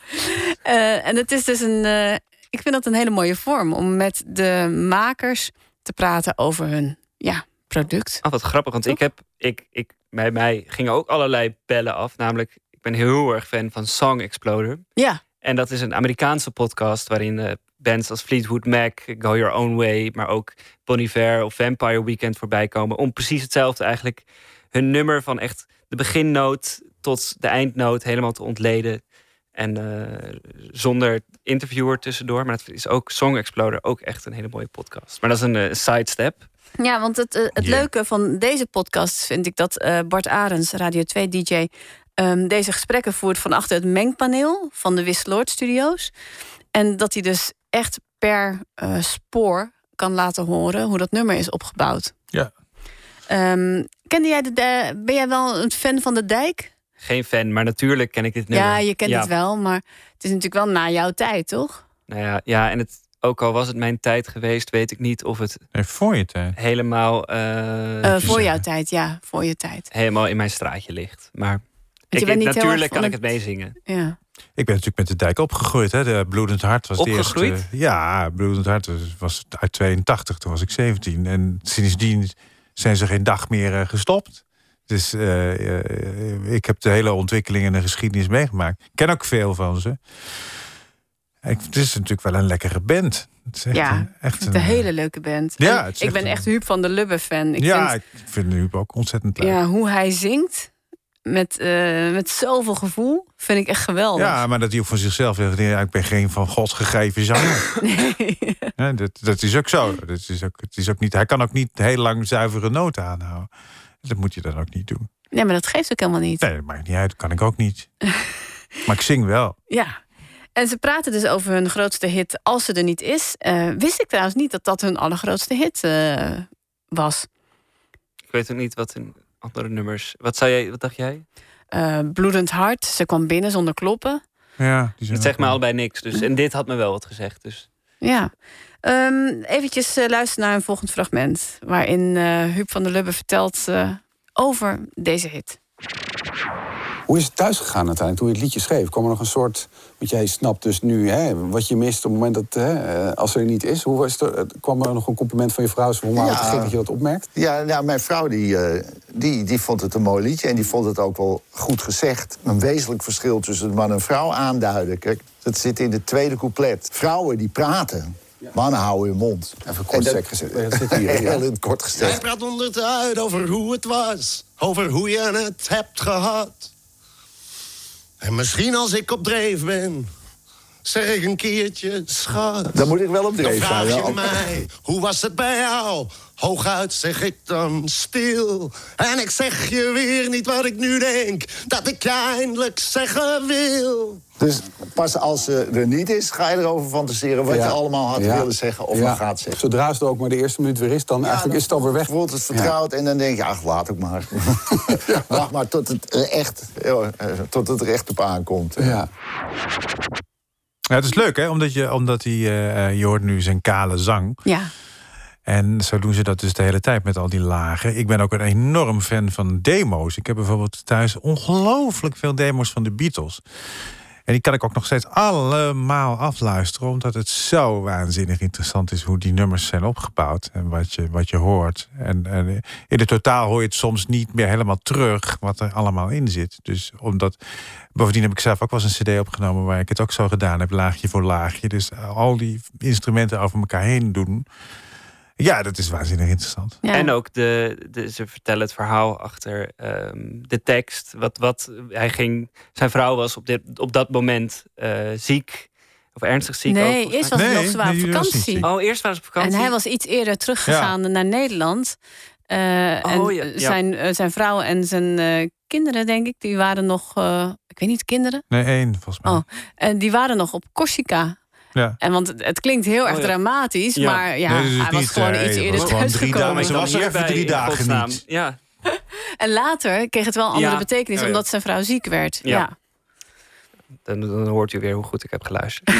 S2: Eh, en het is dus een. eh, ik vind dat een hele mooie vorm om met de makers te praten over hun ja, product.
S3: Ah, wat grappig, want ik heb, ik, ik, bij mij gingen ook allerlei bellen af. Namelijk, ik ben heel erg fan van Song Exploder.
S2: Ja.
S3: En dat is een Amerikaanse podcast waarin eh, bands als Fleetwood Mac, Go Your Own Way, maar ook Bon Iver of Vampire Weekend voorbij komen. Om precies hetzelfde eigenlijk hun nummer van echt de beginnoot tot de eindnoot helemaal te ontleden. En eh, zonder interviewer tussendoor. Maar dat is ook Song Exploder, ook echt een hele mooie podcast. Maar dat is een eh, sidestep.
S2: Ja, want het, eh, het
S3: Ja.
S2: leuke van deze podcast vind ik dat eh, Bart Arends, Radio 2 DJ, ehm, deze gesprekken voert van achter het mengpaneel van de Wisseloord Studios. En dat hij dus echt per eh, spoor kan laten horen hoe dat nummer is opgebouwd.
S1: Ja.
S2: Ehm, kende jij de, de- ben jij wel een fan van de dijk?
S3: Geen fan, maar natuurlijk ken ik dit nummer.
S2: Ja, je kent
S3: Ja.
S2: het wel, maar het is natuurlijk wel na jouw tijd, toch?
S3: Nou ja, ja, en het, ook al was het mijn tijd geweest, weet ik niet of het
S1: voor je tijd.
S3: helemaal, eh,
S2: Eh, voor jouw tijd, ja, voor je tijd.
S3: helemaal in mijn straatje ligt. Maar
S2: je
S3: ik,
S2: bent niet heel erg
S3: natuurlijk
S2: van
S3: kan ik het
S2: het-
S3: meezingen.
S2: Ja.
S1: Ik ben natuurlijk met de dijk opgegroeid. Hè. De Bloedend Hart was de
S3: Opgegroeid?
S1: eerste. Ja, Bloedend Hart was- was uit 82. Toen was ik 17. En sindsdien zijn ze geen dag meer eh, gestopt. Dus eh, eh, ik heb de hele ontwikkeling en de geschiedenis meegemaakt. Ik ken ook veel van ze. Ik, het is natuurlijk wel een lekkere band. Het is echt
S2: ja,
S1: een,
S2: ik
S1: echt
S2: vind het een
S1: een- eh,
S2: hele leuke band.
S1: Ja,
S2: En
S1: het is
S2: ik
S1: echt
S2: ben
S1: een-
S2: echt Huub van der Lubbe fan. Ik
S1: ja,
S2: vind
S1: ik vind Huub ook ontzettend leuk.
S2: ja, hoe hij zingt met, eh, met zoveel gevoel vind ik echt geweldig.
S1: Ja, maar dat hij ook van zichzelf zegt: ja, ik ben geen van God gegeven zanger. Ja, dat, dat is ook zo. Dat is ook, het is ook niet, hij kan ook niet heel lang zuivere noten aanhouden. Dat moet je dan ook niet doen.
S2: Nee, maar dat geeft ook helemaal niet.
S1: Nee, dat maakt niet uit. Dat kan ik ook niet. maar ik zing wel.
S2: Ja. En ze praten dus over hun grootste hit als ze er niet is. Eh, wist ik trouwens niet dat dat hun allergrootste hit eh, was.
S3: Ik weet ook niet wat in andere nummers. Wat zei jij? Wat dacht jij?
S2: Eh, bloedend hart, ze kwam binnen zonder kloppen.
S1: Ja,
S3: het zegt me allebei niks. Dus en dit had me wel wat gezegd. Dus
S2: Ja. Ehm eventjes eh, luisteren naar een volgend fragment. Waarin eh Huub van der Lubbe vertelt eh, over deze hit.
S13: Hoe is het thuis gegaan uiteindelijk, toen je het liedje schreef? Kwam er nog een soort, want jij snapt dus nu hè, wat je mist op het moment dat, hè, eh, als er niet is. Hoe was het, er- kwam er nog een compliment van je vrouw? Zo, hoe ja.
S14: Ja.
S13: gek dat je dat opmerkt?
S14: Ja, nou, mijn vrouw die, eh, die, die vond het een mooi liedje en die vond het ook wel goed gezegd. Een wezenlijk verschil tussen man en vrouw aanduiden. Kijk, dat zit in de tweede couplet. Vrouwen die praten, mannen houden hun mond. Even
S13: kort sec gezegd, maar dat zit hier, ja.
S14: Heel in het kort
S15: Hij
S14: gezegd.
S15: praat onder de huid over hoe het was, over hoe je het hebt gehad. En misschien als ik op dreef ben, zeg ik een keertje schat.
S14: Dan moet ik wel op dreef
S15: Dan vraag
S14: zijn,
S15: je
S14: ja.
S15: mij, hoe was het bij jou? Hooguit zeg ik dan stil. En ik zeg je weer niet wat ik nu denk, dat ik je eindelijk zeggen wil.
S14: Dus pas als ze er niet is, ga je erover fantaseren wat
S13: Ja.
S14: je allemaal had
S13: Ja.
S14: willen zeggen of
S13: Ja.
S14: nog gaat zeggen.
S13: Zodra ze er ook maar de eerste minuut weer is, dan eigenlijk is het alweer weg.
S14: Wordt het vertrouwd en dan denk je, ach, laat ik maar. Wacht maar tot het, eh, echt, eh, eh, tot het er echt op aankomt.
S13: Ja.
S1: Ja, het is leuk, hè? Omdat je, omdat hij, eh, eh, je hoort nu zijn kale zang.
S2: Ja.
S1: En zo doen ze dat dus de hele tijd met al die lagen. Ik ben ook een enorm fan van demo's. Ik heb bijvoorbeeld thuis ongelooflijk veel demo's van de Beatles. En die kan ik ook nog steeds allemaal afluisteren, omdat het zo waanzinnig interessant is hoe die nummers zijn opgebouwd en wat je, wat je hoort. En, en in het totaal hoor je het soms niet meer helemaal terug wat er allemaal in zit. Dus omdat. Bovendien heb ik zelf ook wel eens een CD opgenomen waar ik het ook zo gedaan heb, laagje voor laagje. Dus al die instrumenten over elkaar heen doen. Ja, dat is waanzinnig interessant.
S3: En ook de, de, ze vertellen het verhaal achter ehm, de tekst. Wat, wat hij ging, zijn vrouw was op, dit, op dat moment eh, ziek. Of ernstig ziek.
S2: Nee,
S3: ook, volgens
S2: eerst was hij
S3: mij.
S2: Nee, nog zwaar op nee, jullie was niet vakantie. ziek.
S3: Oh, eerst waren ze op vakantie.
S2: En hij was iets eerder teruggegaan naar Nederland. Eh,
S1: Oh,
S2: en
S3: ja, ja.
S2: Zijn, eh, zijn vrouw en zijn eh, kinderen, denk ik, die waren nog, eh, ik weet niet, kinderen?
S1: Nee, één volgens mij.
S2: Oh, en die waren nog op Corsica.
S1: Ja.
S2: En want het, het klinkt heel erg
S1: Oh, ja.
S2: dramatisch,
S1: Ja.
S2: maar ja,
S1: Nee, dus
S2: hij
S1: niet,
S2: was gewoon
S1: eh,
S2: iets
S1: hij
S2: eerder
S1: was gewoon drie
S2: thuisgekomen.
S1: dagen. Ze was er even drie dagen niet.
S3: Ja.
S2: En later kreeg het wel een andere
S3: Ja.
S2: betekenis,
S3: Oh, ja.
S2: omdat zijn vrouw ziek werd.
S3: Ja.
S2: Ja.
S3: Dan, dan hoort u weer hoe goed ik heb geluisterd.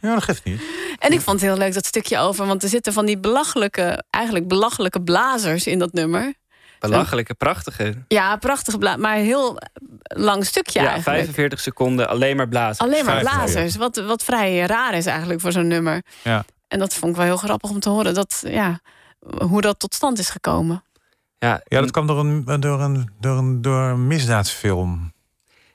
S1: Ja, dat geeft niet.
S2: En ik vond het heel leuk dat stukje over, want er zitten van die belachelijke, eigenlijk belachelijke blazers in dat nummer.
S3: Belachelijke, prachtige.
S2: Ja, prachtig, bla- maar een heel lang stukje
S3: Ja,
S2: eigenlijk.
S3: 45 seconden alleen maar blazen.
S2: Alleen maar blazers, wat, wat vrij raar is eigenlijk voor zo'n nummer.
S1: Ja.
S2: En dat vond ik wel heel grappig om te horen, dat, ja, hoe dat tot stand is gekomen.
S3: Ja,
S1: dat kwam door een, door een, door een, door een misdaadfilm.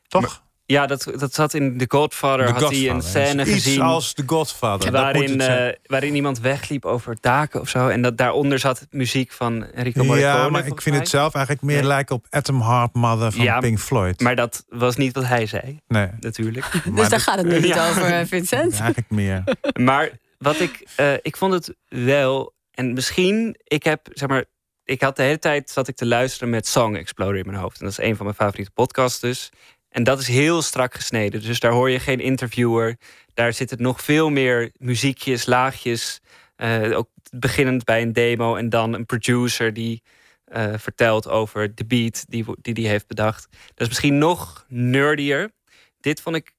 S1: Toch?
S3: Ja, dat, dat zat in The Godfather.
S1: The
S3: had hij een
S1: Godfather.
S3: scène
S1: Iets
S3: gezien.
S1: als The Godfather, dat moet
S3: Waarin,
S1: het zijn.
S3: eh, waarin iemand wegliep over daken of zo. En dat daaronder zat muziek van Enrico Morricone.
S1: ja, maar ik
S3: volgens
S1: vind
S3: mij.
S1: het zelf eigenlijk meer
S3: Nee.
S1: lijken op Atom Heart Mother van
S3: Ja,
S1: Pink Floyd.
S3: Maar dat was niet wat hij zei.
S1: Nee.
S3: Natuurlijk.
S2: dus daar gaat het nu niet over, eh, Vincent.
S1: Eigenlijk meer.
S3: Maar wat ik, eh, ik vond het wel, en misschien, ik heb, zeg maar, ik had de hele tijd zat ik te luisteren met Song Exploder in mijn hoofd. En dat is een van mijn favoriete podcasts dus. En dat is heel strak gesneden. Dus daar hoor je geen interviewer. Daar zitten nog veel meer muziekjes, laagjes. Eh, ook beginnend bij een demo en dan een producer die eh, vertelt over de beat die wo- die die heeft bedacht. Dat is misschien nog nerdier. Dit vond ik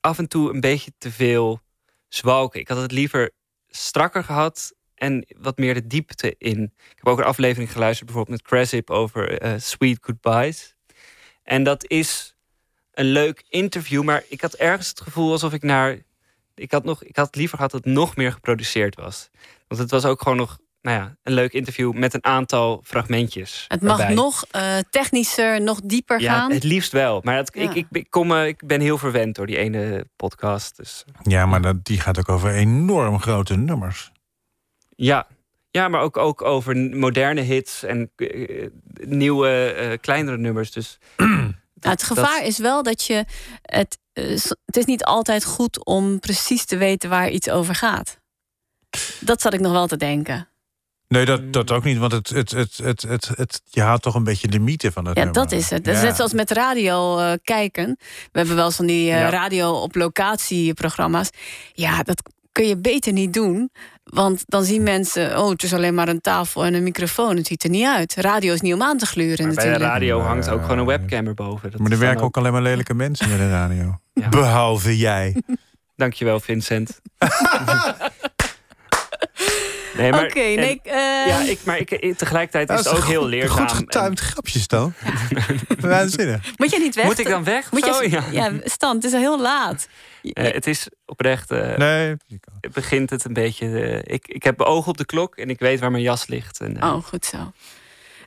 S3: af en toe een beetje te veel zwalken. Ik had het liever strakker gehad en wat meer de diepte in. Ik heb ook een aflevering geluisterd, bijvoorbeeld met Crasip over eh, Sweet Goodbyes. En dat is een leuk interview, maar ik had ergens het gevoel alsof ik naar. Ik had, nog, ik had liever gehad dat het nog meer geproduceerd was. Want het was ook gewoon nog nou ja, een leuk interview met een aantal fragmentjes.
S2: Het mag
S3: erbij.
S2: nog eh, technischer, nog dieper
S3: ja,
S2: gaan.
S3: Het liefst wel. Maar het-
S2: Ja.
S3: ik, ik, ik, kom, eh, ik ben heel verwend door die ene podcast. Dus
S1: Ja, maar dat, die gaat ook over enorm grote nummers.
S3: Ja, ja maar ook, ook over n- moderne hits en eh, nieuwe, eh, kleinere nummers. Dus
S2: Nou, het gevaar is wel dat je het. eh, s- het is niet altijd goed om precies te weten waar iets over gaat. Dat zat ik nog wel te denken.
S1: Nee, dat, dat ook niet, want het, het, het, het, het, het- je haalt toch een beetje de mythe van het
S2: Ja,
S1: nummer.
S2: dat is het. Dat is
S1: Ja.
S2: net zoals met radio eh, kijken. We hebben wel eens van die eh,
S1: Ja.
S2: radio op locatie programma's. Ja, dat kun je beter niet doen. Want dan zien mensen, oh, het is alleen maar een tafel en een microfoon. Het ziet er niet uit. Radio is niet om aan te gluren
S3: Maar bij de
S2: natuurlijk.
S3: radio hangt ook gewoon een webcam erboven. Dat
S1: Maar er
S3: is dan
S1: werken ook alleen maar lelijke mensen bij de radio. Behalve jij.
S3: Dankjewel, Vincent. nee,
S2: Oké,
S3: maar, en-
S2: nee. ik, eh,
S3: Ja, ik, maar ik, ik- tegelijkertijd is
S1: Dat
S3: het
S1: is
S3: ook
S1: een
S3: heel
S1: goed-
S3: leerzaam.
S1: Goed getuimd grapjes dan. Waanzinnig.
S2: Moet jij niet weg?
S3: Moet ik dan weg of
S2: Moet jij-
S3: zo? Ja.
S2: ja, Stan, het is al heel laat.
S3: Eh, het is oprecht. eh,
S1: nee.
S3: Begint het een beetje. eh, ik, ik heb mijn ogen op de klok en ik weet waar mijn jas ligt. En, eh,
S2: Oh, goed zo.
S3: ik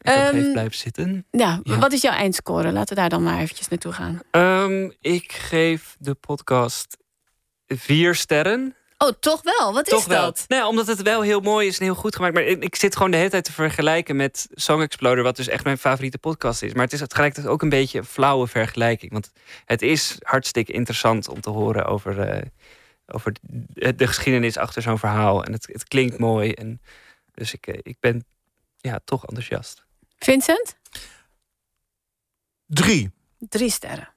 S3: kan nog even
S2: Ehm,
S3: blijven zitten.
S2: ja,
S3: Ja.
S2: wat is jouw eindscore? Laten we daar dan maar eventjes naartoe gaan.
S3: Ehm, ik geef de podcast vier sterren.
S2: Oh, toch wel? Wat
S3: Toch
S2: is
S3: wel.
S2: dat?
S3: Nee, omdat het wel heel mooi is en heel goed gemaakt. Maar ik, ik zit gewoon de hele tijd te vergelijken met Song Exploder, wat dus echt mijn favoriete podcast is. Maar het is tegelijkertijd ook een beetje een flauwe vergelijking. Want het is hartstikke interessant om te horen over, eh, over de, de geschiedenis achter zo'n verhaal. En het, het klinkt mooi. En dus ik, eh, ik ben ja, toch enthousiast.
S2: Vincent?
S1: Drie.
S2: Drie sterren.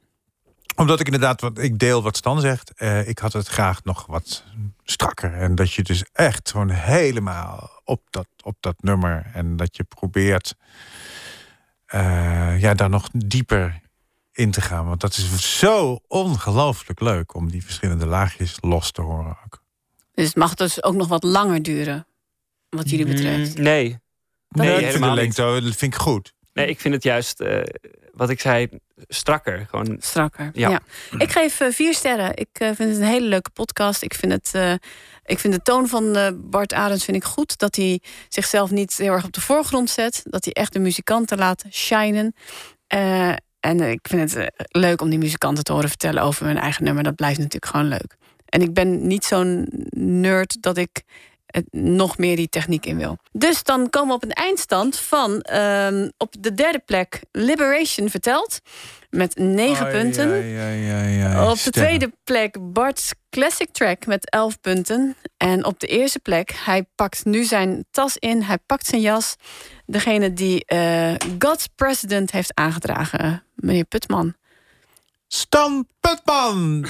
S1: Omdat ik inderdaad, wat ik deel wat Stan zegt. eh, ik had het graag nog wat strakker. En dat je dus echt gewoon helemaal op dat, op dat nummer. En dat je probeert eh, ja, daar nog dieper in te gaan. Want dat is zo ongelooflijk leuk om die verschillende laagjes los te horen.
S2: Dus het mag dus ook nog wat langer duren, wat jullie betreft.
S3: Mm, nee.
S1: Nee, ik vind de
S3: helemaal niet.
S1: lengte, oh, dat vind ik goed.
S3: Nee, ik vind het juist, eh, wat ik zei, strakker. Gewoon...
S2: Strakker,
S3: ja.
S2: ja. Ik geef eh, vier sterren. Ik eh, vind het een hele leuke podcast. Ik vind, het, eh, ik vind de toon van eh, Bart Arends vind ik goed. Dat hij zichzelf niet heel erg op de voorgrond zet. Dat hij echt de muzikanten laat shinen. Eh, en eh, ik vind het eh, leuk om die muzikanten te horen vertellen over hun eigen nummer. Dat blijft natuurlijk gewoon leuk. En ik ben niet zo'n nerd dat ik eh, nog meer die techniek in wil. Dus dan komen we op een eindstand van ehm, op de derde plek Liberation verteld. Met negen
S1: Ai,
S2: punten.
S1: ai, ai, ai, ai.
S2: Op de
S1: Sterren.
S2: tweede plek Bart's Classic Track met 11 punten. En op de eerste plek, hij pakt nu zijn tas in, hij pakt zijn jas. Degene die eh, God's President heeft aangedragen, meneer Putman.
S1: Stan Putman!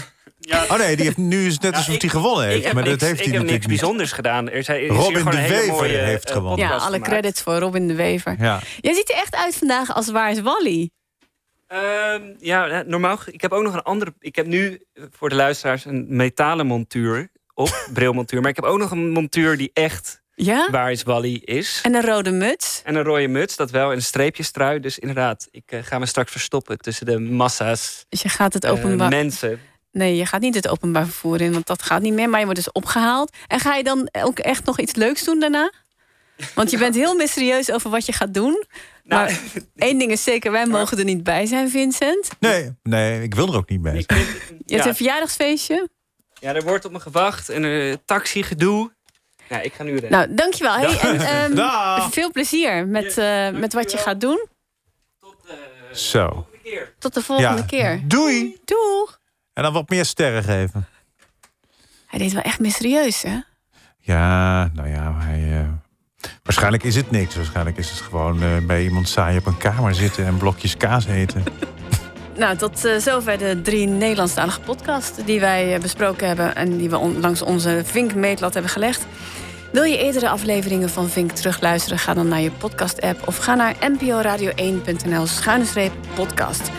S1: Oh nee, die heeft, nu is het net alsof hij gewonnen heeft.
S3: Ik heb
S1: maar dat
S3: niks-
S1: heeft hij
S3: ik heb
S1: natuurlijk
S3: niks
S1: niet.
S3: bijzonders gedaan. Er zijn, er is
S1: Robin
S3: hier gewoon
S1: de
S3: een hele
S1: Wever
S3: mooie,
S1: heeft
S3: eh,
S1: gewonnen.
S2: Ja,
S3: podcast
S2: alle
S3: gemaakt.
S2: credits voor Robin de Wever.
S1: Ja.
S2: Jij ziet er echt uit vandaag als waar is Wally?
S3: Ehm, ja, eh, normaal. ge- Ik heb ook nog een andere. Ik heb nu eh, voor de luisteraars een metalen montuur op, brilmontuur. Maar ik heb ook nog een montuur die echt
S2: Ja?
S3: waar is Wally is.
S2: En een rode muts.
S3: En een rode muts, dat wel. En een streepjestrui. Dus inderdaad, ik eh, ga me straks verstoppen tussen de massa's.
S2: Dus je gaat het
S3: eh,
S2: openbaar...
S3: mensen.
S2: nee, je gaat niet het openbaar vervoer in, want dat gaat niet meer. Maar je wordt dus opgehaald. En ga je dan ook echt nog iets leuks doen daarna? Want je bent heel mysterieus over wat je gaat doen.
S1: Nou,
S2: maar één ding is zeker, wij mogen er niet bij zijn, Vincent.
S1: Nee, nee, ik wil er ook niet bij.
S2: Je hebt een verjaardagsfeestje.
S3: Ja, er wordt op me gewacht. En eh taxi gedoe. Ja, ik ga nu rennen.
S2: Nou, dankjewel. Hey, en, ehm,
S3: Dag.
S2: veel plezier met, eh, met wat je gaat doen.
S1: Zo.
S2: Tot de volgende
S1: Ja.
S2: keer.
S1: Doei.
S2: Doeg.
S1: En dan wat meer sterren geven.
S2: Hij deed wel echt mysterieus, hè?
S1: Ja, nou ja, hij, eh, waarschijnlijk is het niks. Waarschijnlijk is het gewoon eh, bij iemand saai op een kamer zitten en blokjes kaas eten.
S2: Nou, tot eh, zover de drie Nederlandstalige podcasts die wij eh, besproken hebben en die we on- langs onze Vink-meetlat hebben gelegd. Wil je eerdere afleveringen van Vink terugluisteren? Ga dan naar je podcast-app of ga naar nporadio1.nl schuine streep podcast.